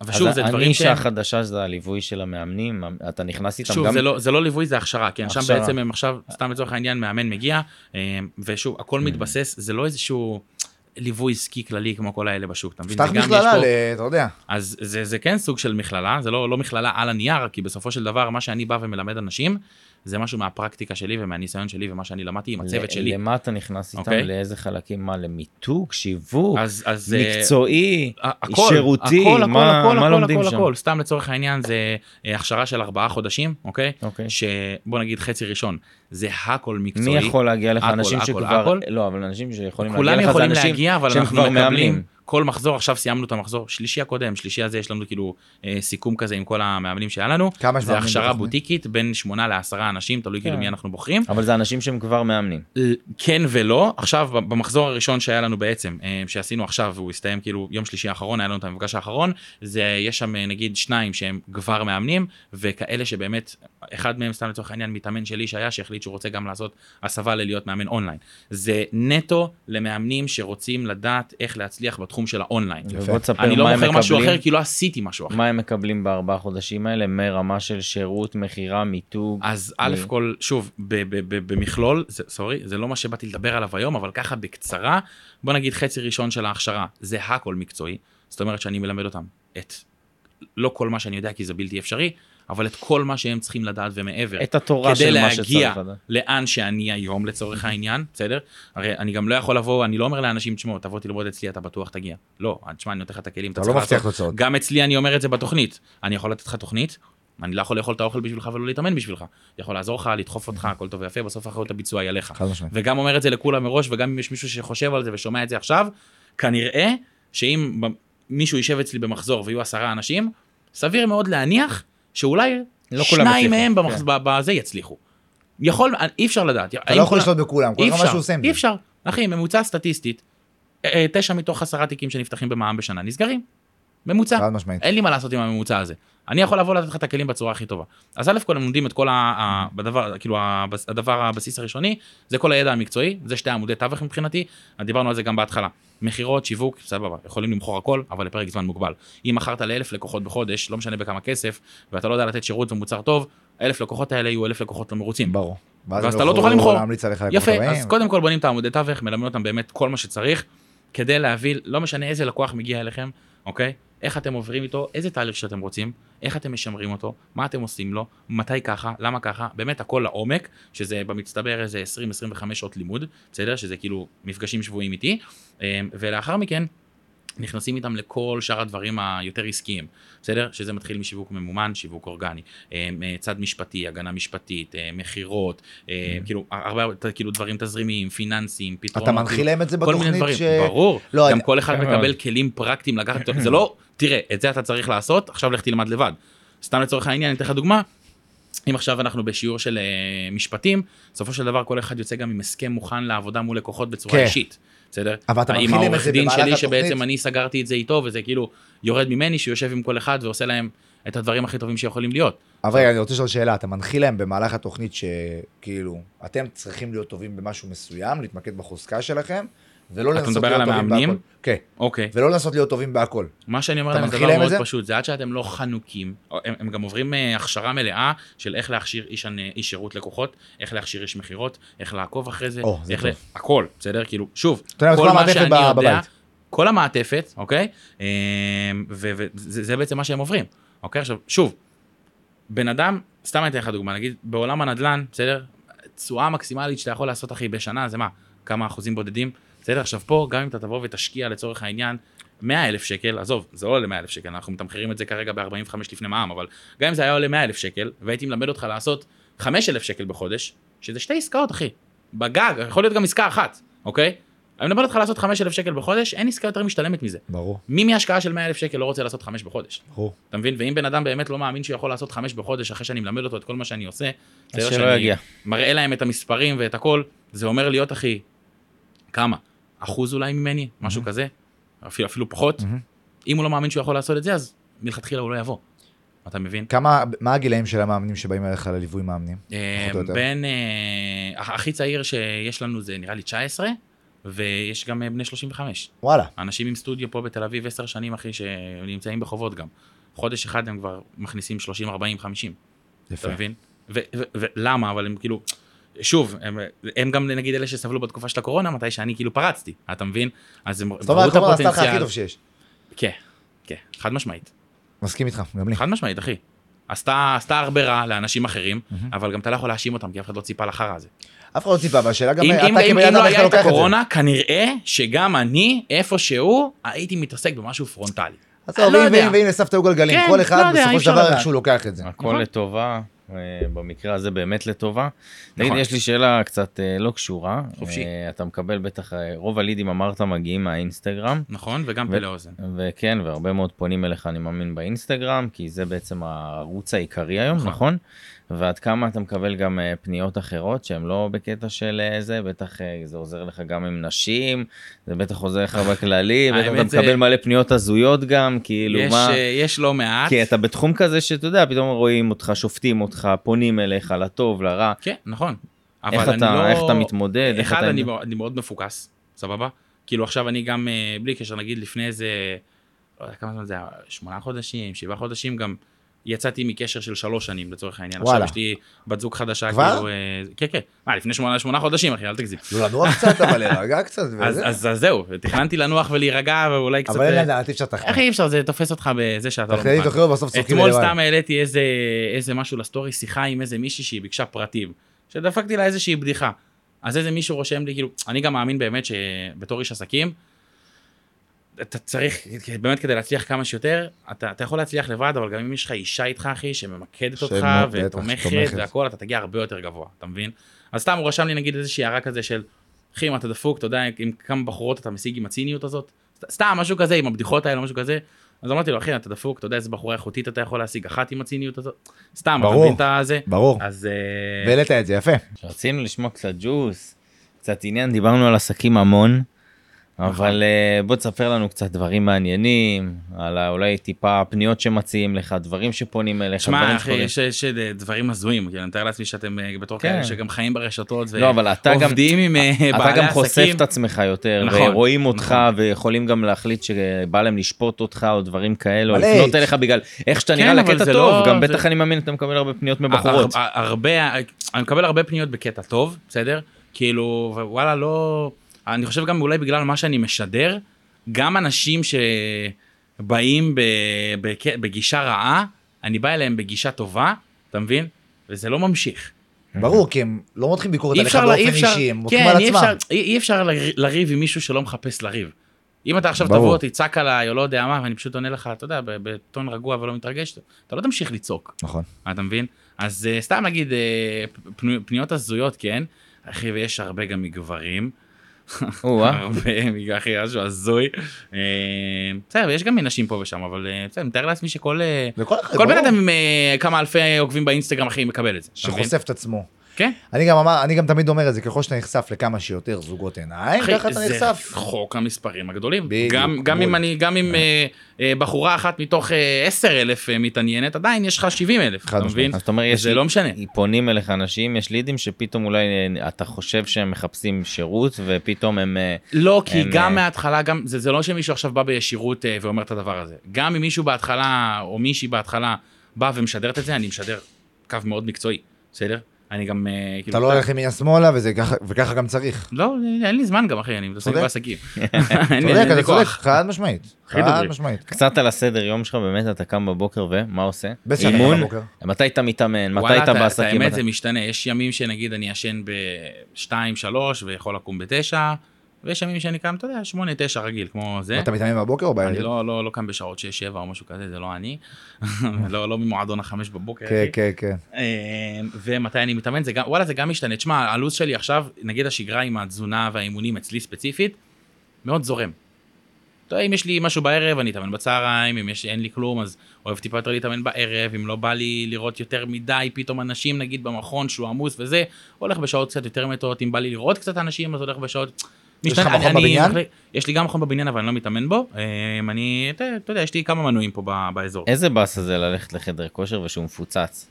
אבל שוב, אז זה דברים הנישה שהם... החדשה זה הליווי של המאמנים, אתה נכנס איתם שוב, גם... זה לא, זה לא ליווי, זה הכשרה, כן, שם הכשרה. בעצם הם עכשיו, סתם לצורך העניין, מאמן מגיע, אה, ושוב, Mm. הכל מתבסס, זה לא איזשהו ליווי עסקי כללי כמו כל האלה בשוק, אתה מבין? פתח זה גם יש מכללה, פה- ל- אתה יודע. אז זה, זה כן סוג של מכללה, זה לא, לא מכללה על הנייר, כי בסופו של דבר, מה שאני בא ומלמד אנשים, זה משהו מהפרקטיקה שלי ומהניסיון שלי ומה שאני למדתי עם הצוות ל- שלי. למה אתה נכנס איתם? אוקיי. לאיזה חלקים? מה, למיתוג, שיווק, אז, אז אה, מקצועי, ה- הכל, שירותי? הכל, הכל, מה- הכל, מה הכל, לומדים הכל, שם? הכל, סתם לצורך העניין זה אה, הכשרה של ארבעה חודשים, אוקיי? אוקיי. שבוא נגיד חצי ראשון, זה הכל מקצועי. מי יכול להגיע לך? הכל, אנשים הכל, שכבר... הכל. לא, אבל אנשים שיכולים להגיע כולם לך זה יכולים אנשים להגיע, אבל שהם אנחנו כבר מקבלים מאמנים. כל מחזור, עכשיו סיימנו את המחזור, שלישי הקודם, שלישי הזה, יש לנו כאילו אה, סיכום כזה עם כל המאמנים שהיה לנו. כמה זה שמאמנים הכשרה בתוכנית? בוטיקית בין 8 ל-10 אנשים, תלוי כאילו כן. מי אנחנו בוחרים. אבל זה אנשים שהם כבר מאמנים. ל- כן ולא, עכשיו ב- במחזור הראשון שהיה לנו בעצם, אה, שעשינו עכשיו, והוא הסתיים כאילו יום שלישי האחרון, היה לנו את המפגש האחרון, זה יש שם אה, נגיד שניים שהם כבר מאמנים, וכאלה שבאמת, אחד מהם סתם לצורך העניין מתאמן שלי שהיה, שהחליט שהוא רוצה גם לעשות הסבה ללהיות מאמן אונליין. זה נטו למאמנים שרוצים לדעת איך להצליח בתחום של האונליין. ובוא תספר אני מה לא הם מוכר משהו מקבלים. אחר כי לא עשיתי משהו אחר. מה הם מקבלים בארבעה חודשים האלה מרמה של שירות, מכירה, מיתוג. אז א' מ- כל, שוב, ב- ב- ב- במכלול, זה- סורי, זה לא מה שבאתי לדבר עליו היום, אבל ככה בקצרה, בוא נגיד חצי ראשון של ההכשרה, זה הכל מקצועי, זאת אומרת שאני מלמד אותם את, לא כל מה שאני יודע כי זה בלתי אפשרי, אבל את כל מה שהם צריכים לדעת ומעבר. את התורה כדי של מה להגיע שצריך. לדעת. לאן שאני היום לצורך העניין, בסדר? הרי אני גם לא יכול לבוא, אני לא אומר לאנשים, תשמעו, תבוא תלמוד אצלי, אתה בטוח תגיע. לא, תשמע, אני נותן לך את הכלים, אתה אתה צריך לא מבטיח לעשות. תוצאות. גם אצלי אני אומר את זה בתוכנית. אני יכול לתת לך תוכנית, אני לא יכול לאכול את האוכל בשבילך ולא להתאמן בשבילך. יכול לעזור לך, לדחוף אותך, הכל טוב ויפה, בסוף אחריות הביצוע היא עליך. חד משמעית. וגם אומר את זה לכולם מראש, וגם אם יש מישהו שחושב על זה ושומע את זה עכשיו, כנראה שאם ב- מישהו יישב אצלי במחזור ויהיו עשרה אנשים, סביר מאוד להניח שאולי לא כולם שניים יצליחו, מהם במחז... כן. ב- בזה יצליחו. יכול, אי אפשר לדעת. אתה לא יכול לשלוט בכולם, כל אחד מה שהוא עושה עם זה. אי אפשר, אחי, ממוצע סטטיסטית, אה, אה, תשע מתוך עשרה תיקים שנפתחים במע"מ בשנה נסגרים. ממוצע. חד משמעית. אין לי מה לעשות עם הממוצע הזה. אני יכול לבוא לתת לך את הכלים בצורה הכי טובה. אז א' כל הם לומדים את כל ה... ה- בדבר, כאילו הבס- הדבר, הבסיס הראשוני, זה כל הידע המקצועי, זה שתי עמודי תווך מבחינתי, דיברנו על זה גם בהתחלה. מכירות, שיווק, סבבה, יכולים למכור הכל, אבל לפרק זמן מוגבל. אם מכרת לאלף לקוחות בחודש, לא משנה בכמה כסף, ואתה לא יודע לתת שירות ומוצר טוב, אלף לקוחות האלה יהיו אלף לקוחות לא מרוצים. ברור. ואז הם אתה לא יוכלו תוכל למכור. להמליץ עליך לקוחות יפה, הבאים. אז קודם כל בונים את העמודי תווך, מלמד אותם באמת כל מה שצריך, כדי להביא, לא משנה איזה לקוח מגיע אליכם, אוקיי? איך אתם עוברים איתו, איזה תהליך שאתם רוצים, איך אתם משמרים אותו, מה אתם עושים לו, מתי ככה, למה ככה, באמת הכל לעומק, שזה במצטבר איזה 20-25 שעות לימוד, בסדר? שזה כאילו מפגשים שבועיים איתי, אה, אמ, ולאחר מכן נכנסים איתם לכל שאר הדברים היותר עסקיים, בסדר? שזה מתחיל משיווק ממומן, שיווק אורגני, אה, אה, צד משפטי, הגנה משפטית, אה, מכירות, אה, כאילו הרבה ת- כאילו דברים תזרימיים, פיננסיים, פתרונות. Mm-hmm. אתה מנחיל להם את זה כל מיני בתוכנית דברים, ש... ברור, לא, גם אני- כל אחד כן מקבל מאוד. כלים פרקטיים לקחת, אותו. זה לא, תראה, את זה אתה צריך לעשות, עכשיו לך תלמד לבד. סתם לצורך העניין, אני אתן לך דוגמה, אם עכשיו אנחנו בשיעור של אה, משפטים, בסופו של דבר כל אחד יוצא גם עם הסכם מוכן לעבודה מול לקוחות בצורה כן. אישית, בסדר? אבל אתה עם מתחיל עם העורך איזה דין במהלך שלי התוכנית. שבעצם אני סגרתי את זה איתו, וזה כאילו יורד ממני, שיושב עם כל אחד ועושה להם את הדברים הכי טובים שיכולים להיות. אבל רגע, אני רוצה לשאול שאלה, אתה מנחיל להם במהלך התוכנית שכאילו, אתם צריכים להיות טובים במשהו מסוים, להתמקד בחוזקה שלכם, ולא אתה לנסות להיות מדבר טובים על בהכל. המאמנים? כן, אוקיי. ולא לנסות להיות טובים בהכל. מה שאני אומר אתה להם זה מתחיל דבר להם את מאוד זה? פשוט, זה עד שאתם לא חנוקים, או- הם, הם גם עוברים אה, הכשרה מלאה של איך להכשיר איש, הנ- איש שירות לקוחות, איך להכשיר איש מכירות, איך לעקוב אחרי זה, או, זה איך טוב. הכל, בסדר? כאילו, שוב, אתה יודע, כל כל מה המעטפת שאני ב- יודע, בבית. כל המעטפת, אוקיי? וזה זה בעצם מה שהם עוברים, אוקיי? עכשיו, שוב, בן אדם, סתם אני אתן לך דוגמה, נגיד בעולם הנדל"ן, בסדר? תשואה מקסימלית שאתה יכול לעשות, אחי, בשנה, זה מה? כמה אחוזים בודדים? בסדר? עכשיו פה, גם אם אתה תבוא ותשקיע לצורך העניין 100 אלף שקל, עזוב, זה לא עולה 100 אלף שקל, אנחנו מתמחרים את זה כרגע ב-45 לפני מע"מ, אבל גם אם זה היה עולה 100 אלף שקל, והייתי מלמד אותך לעשות 5 אלף שקל בחודש, שזה שתי עסקאות, אחי. בגג, יכול להיות גם עסקה אחת, אוקיי? אני מדבר אותך לעשות 5,000 שקל בחודש, אין עסקה יותר משתלמת מזה. ברור, מי מהשקעה של 100,000 שקל לא רוצה לעשות 5 בחודש? ברור. אתה מבין? ואם בן אדם באמת לא מאמין שהוא יכול לעשות 5 בחודש אחרי שאני מלמד אותו את כל מה שאני עושה, אז זה לא שלא שאני יגיע. מראה להם את המספרים ואת הכל, זה אומר להיות אחי, כמה? אחוז אולי ממני? משהו כזה? אפילו, אפילו פחות? אם הוא לא מאמין שהוא יכול לעשות את זה, אז מלכתחילה הוא לא יבוא. אתה מבין? כמה, מה הגילאים של המאמנים שבאים אליך לליווי מאמנים? אה, פחות או יותר. בין, אה, הח- הכי צעיר שיש לנו זה נראה לי 19, ויש גם אה, בני 35. וואלה, אנשים עם סטודיו פה בתל אביב 10 שנים אחי, שנמצאים בחובות גם. חודש אחד הם כבר מכניסים 30, 40, 50, יפה. אתה מבין? ו- ו- ולמה, אבל הם כאילו, שוב, הם, הם גם נגיד אלה שסבלו בתקופה של הקורונה, מתי שאני כאילו פרצתי, אתה מבין? אז הם זאת אומרת, כבר עשתה לך הכי טוב שיש. כן, כן, חד משמעית. מסכים איתך, גם לי. חד משמעית, אחי. עשתה, עשתה הרבה רע לאנשים אחרים, אבל גם אתה לא יכול להאשים אותם, כי אף אחד לא ציפה לחרא הזה. אף אחד לא ציפה, והשאלה גם, אם, אתה אם, אם, כבן אם לא אדם, איך אתה היה את לוקח את זה? הקורונה, כנראה שגם אני, איפשהו, הייתי מתעסק במשהו פרונטלי. עזוב, לא אם יודע. ואם ואם לסבתא גלגלים, כן, כל לא אחד יודע, אי בסופו אפשר של דבר לדעת. איכשהו לוקח את זה. נכון. הכל לטובה, אה, במקרה הזה באמת לטובה. תגיד, נכון. יש לי שאלה קצת אה, לא קשורה. חופשי. אה, אתה מקבל בטח, אה, רוב הלידים אמרת מגיעים מהאינסטגרם. נכון? וגם ו- פלא אוזן. וכן, והרבה מאוד פונים אליך, אני מאמין, באינסטגרם, כי זה בעצם הערוץ העיקרי היום, נכון? נכון? ועד כמה אתה מקבל גם אה, פניות אחרות שהן לא בקטע של אה, זה, בטח אה, זה עוזר לך גם עם נשים, זה בטח עוזר לך בכללי, בטח אתה האמת זה- מקבל מלא פניות הזויות גם, כאילו יש, מה... אה, יש לא מעט. כי אתה בתחום כזה שאתה יודע, פתאום רואים אותך, שופטים אותך, פונים אליך, לטוב, לרע. כן, נכון. אבל איך אני אתה, לא... איך אתה מתמודד? איך אחד, אתה... אני, מאוד- אני מאוד מפוקס, סבבה? כאילו עכשיו אני גם, אה, בלי קשר, נגיד לפני איזה, לא יודע כמה זמן זה היה, שמונה חודשים, שבעה חודשים, גם יצאתי מקשר של שלוש שנים לצורך העניין. וואלה. עכשיו יש לי בת זוג חדשה, כבר? כאילו... אה, כן, כן. מה, לפני שמונה, שמונה חודשים, אחי, אל תגזים. לא לנוח קצת, אבל להירגע קצת, אז, וזה. אז, אז זהו, תכננתי לנוח ולהירגע ואולי קצת... אבל אה, אין לדעת, אי אפשר איך לתכנן. אי אפשר, זה תופס אותך בזה שאתה לא תכננים מוכן. תוכניות, בסוף צוחקים אתמול אליי. סתם העליתי איזה, איזה משהו לסטורי, שיחה עם איזה מישהי שהיא ביקשה פרטים. שדפקתי לה איזושהי בדיחה. אז איזה מישהו רושם לי, כאילו, אני גם מאמין באמת שבתור איש עסקים, אתה צריך, באמת כדי להצליח כמה שיותר, אתה, אתה יכול להצליח לבד, אבל גם אם יש לך אישה איתך, אחי, שממקדת אותך, שמאוד, בטח, ותומכת שתומכת. והכל, אתה תגיע הרבה יותר גבוה, אתה מבין? אז סתם הוא רשם לי נגיד איזושהי הערה כזה של, אחי, אם אתה דפוק, אתה יודע, עם כמה בחורות אתה משיג עם הציניות הזאת, סת- סתם משהו כזה, עם הבדיחות האלה, משהו כזה. אז אמרתי לו, אחי, אתה דפוק, אתה יודע איזה בחורה איכותית אתה יכול להשיג, אחת עם הציניות הזאת, סתם, אתה ברור. מבין את הזה? ברור. אז... אה, והעלית את זה, יפה. רצינו לשמוע קצת ג'וס, קצת עניין, דיברנו על עסקים המון, אבל אה, בוא תספר לנו קצת דברים מעניינים, על ה- אולי טיפה פניות שמציעים לך, דברים שפונים אליך, דברים שמע, אחי, שקורים. יש- יש אה, דברים הזויים, כי אני מתאר לעצמי שאתם אה, בתור כן. כאלה שגם חיים ברשתות, לא, אבל אתה גם- ועובדים עם אה, בעלי אתה עסקים. גם חושף את עצמך יותר, נכון, ורואים אותך, ויכולים גם להחליט שבא להם לשפוט אותך, או דברים כאלה, או מלא לפנות אייץ'. אליך בגלל איך שאתה כן, נראה אבל לקטע זה טוב, לא- גם זה- אה, בטח אני מאמין, אתה מקבל הרבה פניות מבחורות. הר- הר- הרבה, אני מקבל הרבה פניות בקטע טוב, בסדר? כאילו, וואלה, לא... אני חושב גם אולי בגלל מה שאני משדר, גם אנשים שבאים ב- בק- בגישה רעה, אני בא אליהם בגישה טובה, אתה מבין? וזה לא ממשיך. ברור, כי הם לא מותחים ביקורת אי עליך אפשר, לה- אי באופן אפשר, אישי, הם מותחים כן, על אי אפשר, עצמם. אי אי אפשר לר- לריב עם מישהו שלא מחפש לריב. אם אתה עכשיו ברור. תבוא, תצעק עליי, או לא יודע מה, ואני פשוט עונה לך, אתה יודע, ב- בטון רגוע ולא מתרגש, אתה לא תמשיך לצעוק. נכון. אה, אתה מבין? אז אה, סתם נגיד אה, פנו- פניות הזויות, כן? אחי, ויש הרבה גם מגברים. אה, אה. או-אה. הרבה, בגלל אחי, משהו הזוי. אה, בסדר, יש גם מנשים פה ושם, אבל אה, בסדר, אני מתאר לעצמי שכל אה, לכל אחד, כל בן ברור, אדם עם אה, כמה אלפי עוקבים באינסטגרם, אחי, מקבל את זה. אתה מבין? שחושף את עצמו. כן. אני גם אמר, אני גם תמיד אומר את זה, ככל שאתה נחשף לכמה שיותר זוגות עיניים, אחי, ככה אתה זה נחשף. חוק המספרים הגדולים. בדיוק, גם, גם אם בול. אני, גם אם אה, אה, בחורה אחת מתוך אה, עשר אלף מתעניינת, עדיין יש לך שבעים אלף, חד אתה משמעית. מבין? אז אתה אומר, יש זה לא משנה. פונים אליך אנשים, יש לידים שפתאום אולי אה, אתה חושב שהם מחפשים שירות ופתאום הם... אה, לא, כי הם, גם אה, מההתחלה, גם, זה, זה לא שמישהו עכשיו בא בישירות אה, ואומר את הדבר הזה. גם אם מישהו בהתחלה, או מישהי בהתחלה, בא ומשדרת את זה, אני משדר קו מאוד מקצועי, בסדר? אני גם, אה, כאילו... אתה לא הולך ימינה שמאלה, וזה ככה- וככה גם צריך. לא, אין לי זמן גם, אחי, אני מתעסק צודק. בעסקים. אין לי- צודק, אין לי אתה צודק, כוח. חד משמעית. הכי חד דוגרי. משמעית. כן. קצת על הסדר יום שלך, באמת אתה קם בבוקר ומה עושה? בסדר, אתה קם אימון? בבוקר. מתי אתה מתאמן? מתי וואלה, אתה את- את בעסקים? האמת מתי- זה משתנה, יש ימים שנגיד אני ישן ב-2-3 ויכול לקום ב-9, ויש ימים שאני קם, אתה יודע, 8-9 רגיל, כמו זה. אתה מתאמן בבוקר או אני בערב? לא, לא, לא קם בשעות 6-7 או משהו כזה, זה לא אני. לא, לא ממועדון החמש בבוקר. כן, אחי. כן, כן. אה, ומתי אני מתאמן, זה גם, וואלה, זה גם משתנה. תשמע, הלו"ז שלי עכשיו, נגיד השגרה עם התזונה והאימונים אצלי ספציפית, מאוד זורם. אתה יודע, אם יש לי משהו בערב, אני אתאמן בצהריים, אם יש, אין לי כלום, אז אוהב טיפה יותר להתאמן בערב, אם לא בא לי לראות יותר מדי, פתאום אנשים, נגיד, במכון שהוא עמוס וזה, הולך בשעות קצת יותר מתות, אם בא לי לראות קצת אנשים, אז הולך בשעות... יש לך משתנה, אני- מכון אני- בבניין? מחליט- יש לי גם מכון בבניין, אבל אני לא מתאמן בו. אה, אני, אתה אתה יודע, יש לי כמה מנויים פה ב- באזור. איזה באסה זה ללכת לחדר כושר ושהוא מפוצץ?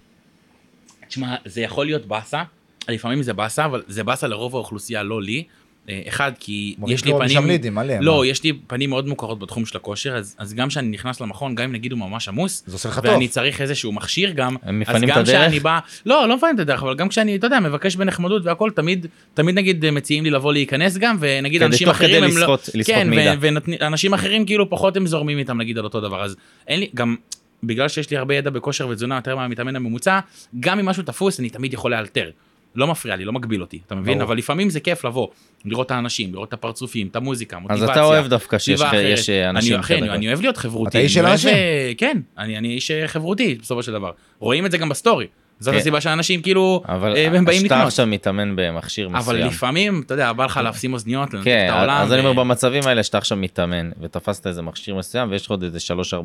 תשמע, זה יכול להיות באסה, לפעמים זה באסה, אבל זה באסה לרוב האוכלוסייה, לא לי. אה, אחד, כי מוריד יש לי לו פנים... משם לידים, כן, מלא. לא, מה? יש לי פנים מאוד מוכרות בתחום של הכושר, אז, אז גם כשאני נכנס למכון, גם אם נגיד הוא ממש עמוס, זה עושה לך טוב. ואני צריך איזשהו מכשיר גם, הם אז מפנים את גם הדרך? כשאני בא, לא, לא מפנים את הדרך, אבל גם כשאני, אתה יודע, מבקש בנחמדות והכל, תמיד, תמיד נגיד אה, מציעים לי לבוא להיכנס גם, ונגיד כדי- אנשים כן, תוך כדי אחרים הם לא... לסחוט- לסחוט כן, מידע. ואנשים אחרים כאילו פחות הם זורמים איתם נגיד על אותו דבר, אז אין לי, גם בגלל שיש לי הרבה ידע בכושר ותזונה יותר מהמתאמן הממוצע, גם אם משהו תפוס אני תמיד יכול לאלתר. לא מפריע לי, לא מגביל אותי, אתה מבין? ברור. אבל לפעמים זה כיף לבוא, לראות את האנשים, לראות את הפרצופים, את המוזיקה, אז מוטיבציה. אתה אוהב דווקא שיש סביבה אחרת. יש, אה, אנשים אני, אכן, בחדר אני אוהב להיות חברותי. אתה איש של אני אוהב, אנשים. אה, כן, אני, אני איש אה, חברותי בסופו של דבר. רואים את זה גם בסטורי. זאת כן. הסיבה שאנשים כאילו, אבל אה, הם באים שאתה לקנות. עכשיו מתאמן במכשיר אבל מסוים. לפעמים, אתה יודע, בא לך להפסים אוזניות, לנתק כן, את העולם. אה, אז אני ו- אומר במצבים האלה שאתה עכשיו מתאמן ותפסת איזה מכשיר מסוים ויש לך עוד איזה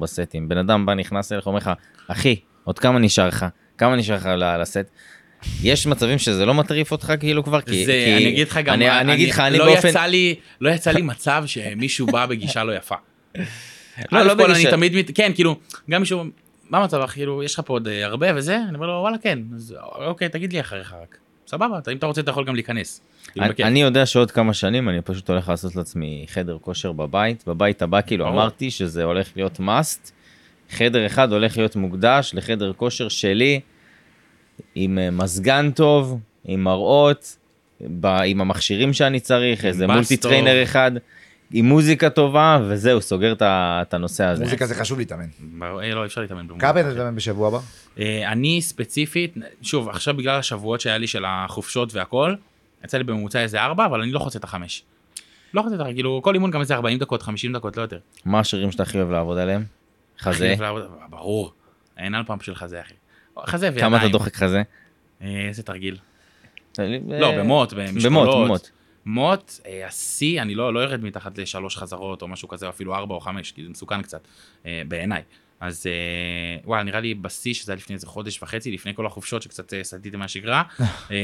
3-4 סטים. בן אדם בא נכנס אליך אומר לך אחי עוד כמה נשאר לך כמה נשאר לך ל- לסט. יש מצבים שזה לא מטריף אותך כאילו כבר כי זה, כי- אני אגיד לך גם, אני, אני אגיד לך אני לא באופן יצא לי, לא יצא לי מצב שמישהו בא בגישה לא יפה. לא, לא, לא לא בגישה. אני בגישה. תמיד, מת- כן, כאילו, גם מישהו, מה המצב, אחי, כאילו, יש לך פה עוד אה, הרבה וזה? אני אומר לו, וואלה, כן. אז אוקיי, תגיד לי אחריך רק. סבבה, אתה- אם אתה רוצה, אתה יכול גם להיכנס. כאילו, אני, בכיף. אני יודע שעוד כמה שנים אני פשוט הולך לעשות לעצמי חדר כושר בבית בבית הבא כאילו ברור. אמרתי שזה הולך להיות must. חדר אחד הולך להיות מוקדש לחדר כושר שלי עם אה, מזגן טוב עם מראות ב, עם המכשירים שאני צריך איזה בס מולטי טוב. טריינר אחד עם מוזיקה טובה וזהו סוגר את ה- את הנושא הזה. מוזיקה זה חשוב להתאמן. ברור, אה, לא, אי אפשר להתאמן במוזיקה. כמה פעמים אתה מתאמן בשבוע הבא? אה, אני ספציפית, שוב, עכשיו בגלל השבועות שהיה לי של החופשות והכל, יצא לי בממוצע איזה ארבע, אבל אני לא חוצה את החמש. לא חוצה את החמש, כאילו, כל אימון גם איזה 40 דקות, 50 דקות, לא יותר. מה השירים שאתה הכי אוהב לעבוד עליהם? חזה. חיוב לעבוד- ברור. אין על פעם של חזה, אחי. חזה וידיים. כמה אתה דוחק חזה? אה, איזה תרגיל. לא לא, במוט, במוט, במשקולות. במוט. במוט. מוט, אה, השיא, אני לא לא יורד מתחת לשלוש חזרות או משהו כזה, או אפילו ארבע או חמש, כי זה מסוכן קצת, אה, בעיניי. אז אה, וואלה, נראה לי בשיא, שזה היה לפני איזה חודש וחצי, לפני כל החופשות שקצת אה, סטיתי מהשגרה, אה,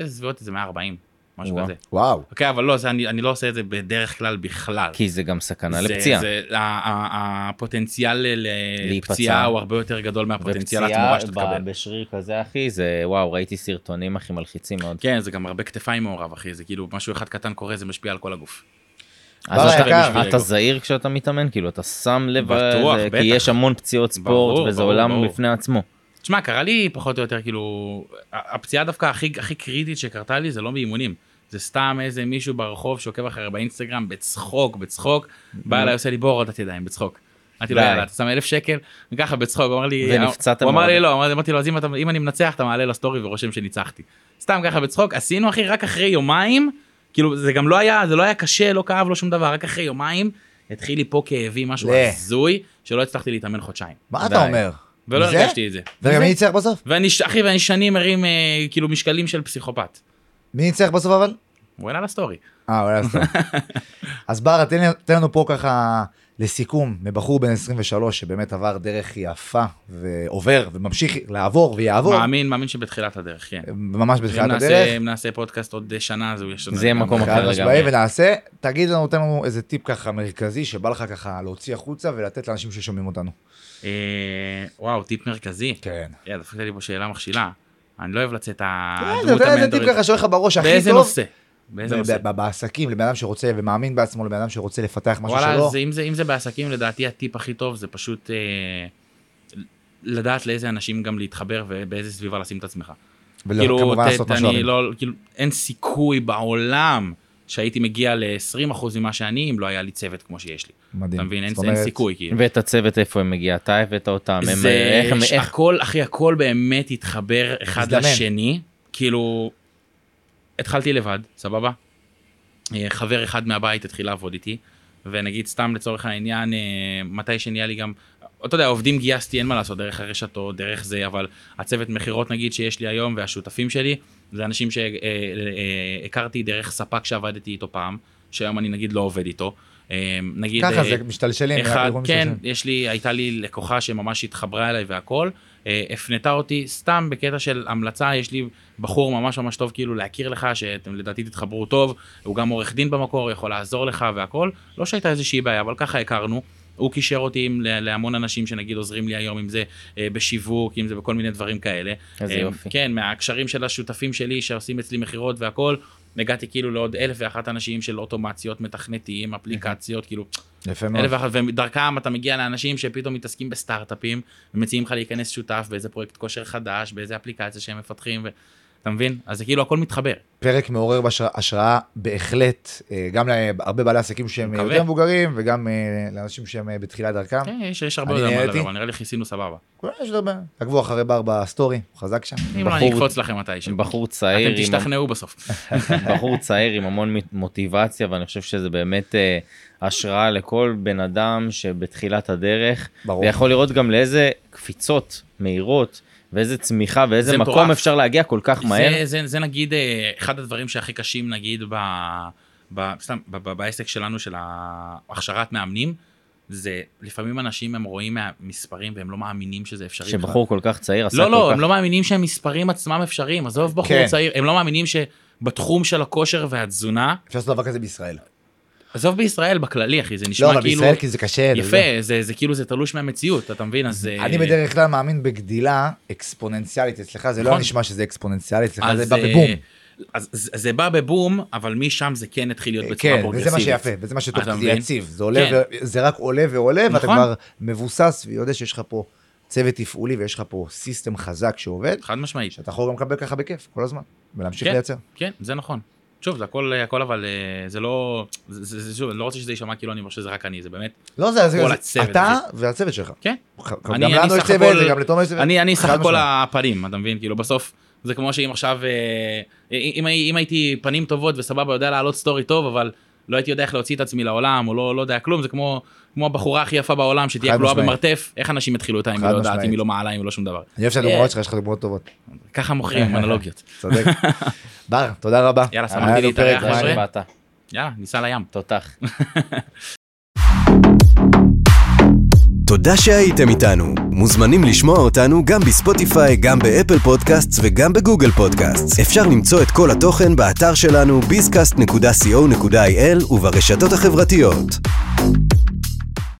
אה, סביבות איזה 140, משהו וואו. כזה. וואו. אוקיי, אבל לא, זה- אני אני לא עושה את זה בדרך כלל בכלל. כי זה גם סכנה זה- לפציעה. זה- ה- ה- ה- הפוטנציאל ל- להיפצע. לפציעה הוא הרבה יותר גדול מהפוטנציאל ופציעה התמורה שאתה ב- תקבל. בשריר כזה אחי זה וואו ראיתי סרטונים אחי מלחיצים מאוד. כן, זה גם הרבה כתפיים מעורב, אחי, זה כאילו משהו אחד קטן קורה, זה משפיע על כל הגוף. אז בר אתה- היקר. אתה זהיר כשאתה מתאמן כאילו אתה שם לב על בטוח, זה, בטח. כי יש המון פציעות ברור, ספורט וזה ברור, עולם ברור. בפני עצמו. תשמע, קרה לי פחות או יותר, כאילו, ה- הפציעה דווקא הכי, הכי קריטית שקרתה לי זה לא באימונים. זה סתם איזה מישהו ברחוב שעוקב אחרי באינסטגרם בצחוק, בצחוק, בא אליי, עושה לי בור הורדת ידיים, בצחוק. אמרתי לו, די. יאללה, אתה שם אלף שקל, וככה בצחוק, הוא אמר לי, ונפצעת הוא אמר מאוד. לי לא, אמר- אמרתי לו, אז אם אתה- אם אני מנצח, אתה מעלה לסטורי ורושם שניצחתי. סתם ככה בצחוק, עשינו אחי, רק אחרי יומיים, כאילו זה גם לא היה, זה לא היה קשה, לא כאב, לא שום דבר, רק אחרי יומיים התחיל לי פה כאבים, משהו לא. הזוי, שלא הצלחתי להתאמן חודשיים. מה די. אתה אומר? ולא מזה? הרגשתי את זה. רגע, מי ניצח בסוף? ואני, ש- אחי, ואני שנים מרים אה, כאילו משקלים של פסיכופת. מי ניצח בסוף אבל? הוא העלה לסטורי. אה, אולי אז טוב. אז ברא, תן, לי- תן לנו פה ככה לסיכום, מבחור בן 23 שבאמת עבר דרך יפה ועובר וממשיך לעבור ויעבור. מאמין, מאמין שבתחילת הדרך, כן. ממש אם בתחילת הדרך. נעשה, אם נעשה פודקאסט עוד אה, שנה, אז הוא יש לנו זה יהיה גם- מקום חד אחר משמעי, לגמרי. ונעשה, תגיד לנו, תן לנו איזה טיפ ככה מרכזי שבא לך ככה להוציא החוצה ולתת לאנשים ששומעים אותנו. אה, וואו, טיפ מרכזי. כן. יא, דפקת לי פה שאלה מכשילה. אני לא אוהב לצאת ה- זה הדמות אה, איזה טיפ המנטורית. ככה שעולה לך בראש הכי באיזה טוב. נושא? באיזה נושא? ב- ב- בעסקים, לבן אדם שרוצה ומאמין בעצמו, לבן אדם שרוצה לפתח משהו וואלה, שלו. אז אם זה, אם זה בעסקים, לדעתי הטיפ הכי טוב זה פשוט אה, לדעת לאיזה אנשים גם להתחבר ובאיזה סביבה לשים את עצמך. לא, כאילו, וכמובן ת- לעשות ת- מה אני שאוהבים. לא, כאילו, אין סיכוי בעולם שהייתי מגיע ל-20% ממה שאני, אם לא היה לי צוות כמו שיש לי. מדהים. אתה מבין? אין, זאת אין אומרת, סיכוי, כאילו. ואת הצוות איפה הם מגיע, אתה הבאת אותם, הם, אה, זה איך, הם- ש- איך, הכל, אחי, הכל באמת התחבר אחד מזדמן. לשני. כאילו, התחלתי לבד, סבבה? אה, חבר אחד מהבית התחיל לעבוד איתי, ונגיד סתם לצורך העניין, אה, מתי שנהיה לי גם, אתה יודע, עובדים גייסתי, אין מה לעשות, דרך הרשתות, דרך זה, אבל הצוות מכירות נגיד שיש לי היום, והשותפים שלי, זה אנשים אה, שהכרתי אה, דרך ספק שעבדתי איתו פעם, שהיום אני נגיד לא עובד איתו. אה, נגיד... ככה אה, זה משתלשלים. אחד, ארגונים כן, משתלשלים. יש לי, הייתה לי לקוחה שממש התחברה אליי והכל, אה, הפנתה אותי סתם בקטע של המלצה, יש לי בחור ממש ממש טוב כאילו להכיר לך, שאתם לדעתי תתחברו טוב, הוא גם עורך דין במקור, יכול לעזור לך והכל, לא שהייתה איזושהי בעיה, אבל ככה הכרנו. הוא קישר אותי עם, ל- להמון אנשים שנגיד עוזרים לי היום, אם זה אה, בשיווק, אם זה בכל מיני דברים כאלה. איזה אה, יופי. כן, מהקשרים של השותפים שלי שעושים אצלי מכירות והכל, הגעתי כאילו לעוד אלף ואחת אנשים של אוטומציות, מתכנתים, אפליקציות, כאילו יפה מאוד. אלף ואחת, ודרכם אתה מגיע לאנשים שפתאום מתעסקים בסטארט-אפים, ומציעים לך להיכנס שותף באיזה פרויקט כושר חדש, באיזה אפליקציה שהם מפתחים, ו... אתה מבין? אז זה כאילו הכל מתחבר. פרק מעורר בהשרא- השראה בהחלט, אה, גם להרבה בעלי עסקים שהם אה, מקווה. יותר מבוגרים, וגם אה, לאנשים שהם אה, בתחילת דרכם. כן, יש, יש הרבה אני יותר מה נהניתי. לדבר, אבל נראה לי כיסינו סבבה. כולם יש הרבה. עקבו אחרי בר בסטורי, הוא חזק שם. אם לא, אני אקפוץ לכם מתישהו. בחור אתם צעיר, עם, תשתכנעו בסוף. בחור צעיר עם המון מ- מוטיבציה, ואני חושב שזה באמת אה, השראה לכל בן אדם שבתחילת הדרך, ברור. ויכול לראות גם לאיזה קפיצות מהירות, ואיזה צמיחה, ואיזה זה מקום מטורף. אפשר להגיע כל כך מהר. זה, זה, זה נגיד אה, אחד הדברים שהכי קשים נגיד ב, ב, סתם, ב, ב, בעסק שלנו של ההכשרת מאמנים, זה לפעמים אנשים הם רואים מהמספרים והם לא מאמינים שזה אפשרי. בכלל. שבחור כל כך צעיר עשה לא, כל לא, כך... הם לא מאמינים שהמספרים עצמם אפשריים, עזוב בחור כן. צעיר, הם לא מאמינים שבתחום של הכושר והתזונה, אפשר לעשות דבר כזה בישראל. עזוב בישראל בכללי, אחי, זה לא, נשמע אבל כאילו... בישראל כי זה קשה. אתה יודע. יפה, זה, זה כאילו זה תלוש מהמציאות, אתה מבין? אז... אה, אני בדרך כלל מאמין בגדילה אקספוננציאלית אצלך, זה לא נכון. נשמע שזה אקספוננציאלי, אצלך אז, זה בא אה, בבום. אז זה- זה בא בבום, אבל משם זה כן התחיל להיות בצורה כן, פרוגרסיבית. וזה מה שיפה, וזה מה שטוב, אתה כי זה מבין? כן. יציב, זה עולה, ו- זה רק עולה ועולה, ואתה נכון. כבר מבוסס ויודע שיש לך פה צוות תפעולי ויש לך פה סיסטם חזק שעובד, חד משמעית. שאתה יכול גם לקבל ככה בכיף כל הזמן, ולהמשיך כן. לייצר. כן, זה נכון. שוב, זה הכל, הכל אבל אה, זה לא, זה, זה, זה, שוב, אני לא רוצה שזה יישמע כאילו אני חושב שזה רק אני, זה באמת, לא זה, זה- כל זה- הצוות, אתה והצוות שלך. כן. ח- אני- גם אני לנו יש סך צוות, הכל- וגם לתומר יש צוות. אני, אני סך חד הכל משמעית. הפנים, אתה מבין? כאילו בסוף, זה כמו שאם עכשיו, אה, אם, הי- אם הייתי פנים טובות וסבבה, יודע להעלות סטורי טוב, אבל לא הייתי יודע איך להוציא את עצמי לעולם, או לא, לא יודע כלום, זה כמו, כמו הבחורה הכי יפה בעולם שתהיה חד כלואה משמעית. במרתף, איך אנשים יתחילו אותה אם חד היא לא יודעת, משמעית. אם היא לא מעלה, אם היא לא שום דבר. אני אוהב שהדוגמאות שלך, יש לך דוגמאות טובות. ככה מוכרים אנלוגיות. צודק. בר, תודה רבה. יאללה, היה שמחתי לנו להתארח, פרק חבר'ה. מעניין. אה, שבאת. יאללה, ניסע לים. תותח. תודה שהייתם איתנו. מוזמנים לשמוע אותנו גם בספוטיפיי, גם באפל פודקאסטס וגם בגוגל פודקאסטס. אפשר למצוא את כל התוכן באתר שלנו bizcast.co.il וברשתות החברתיות.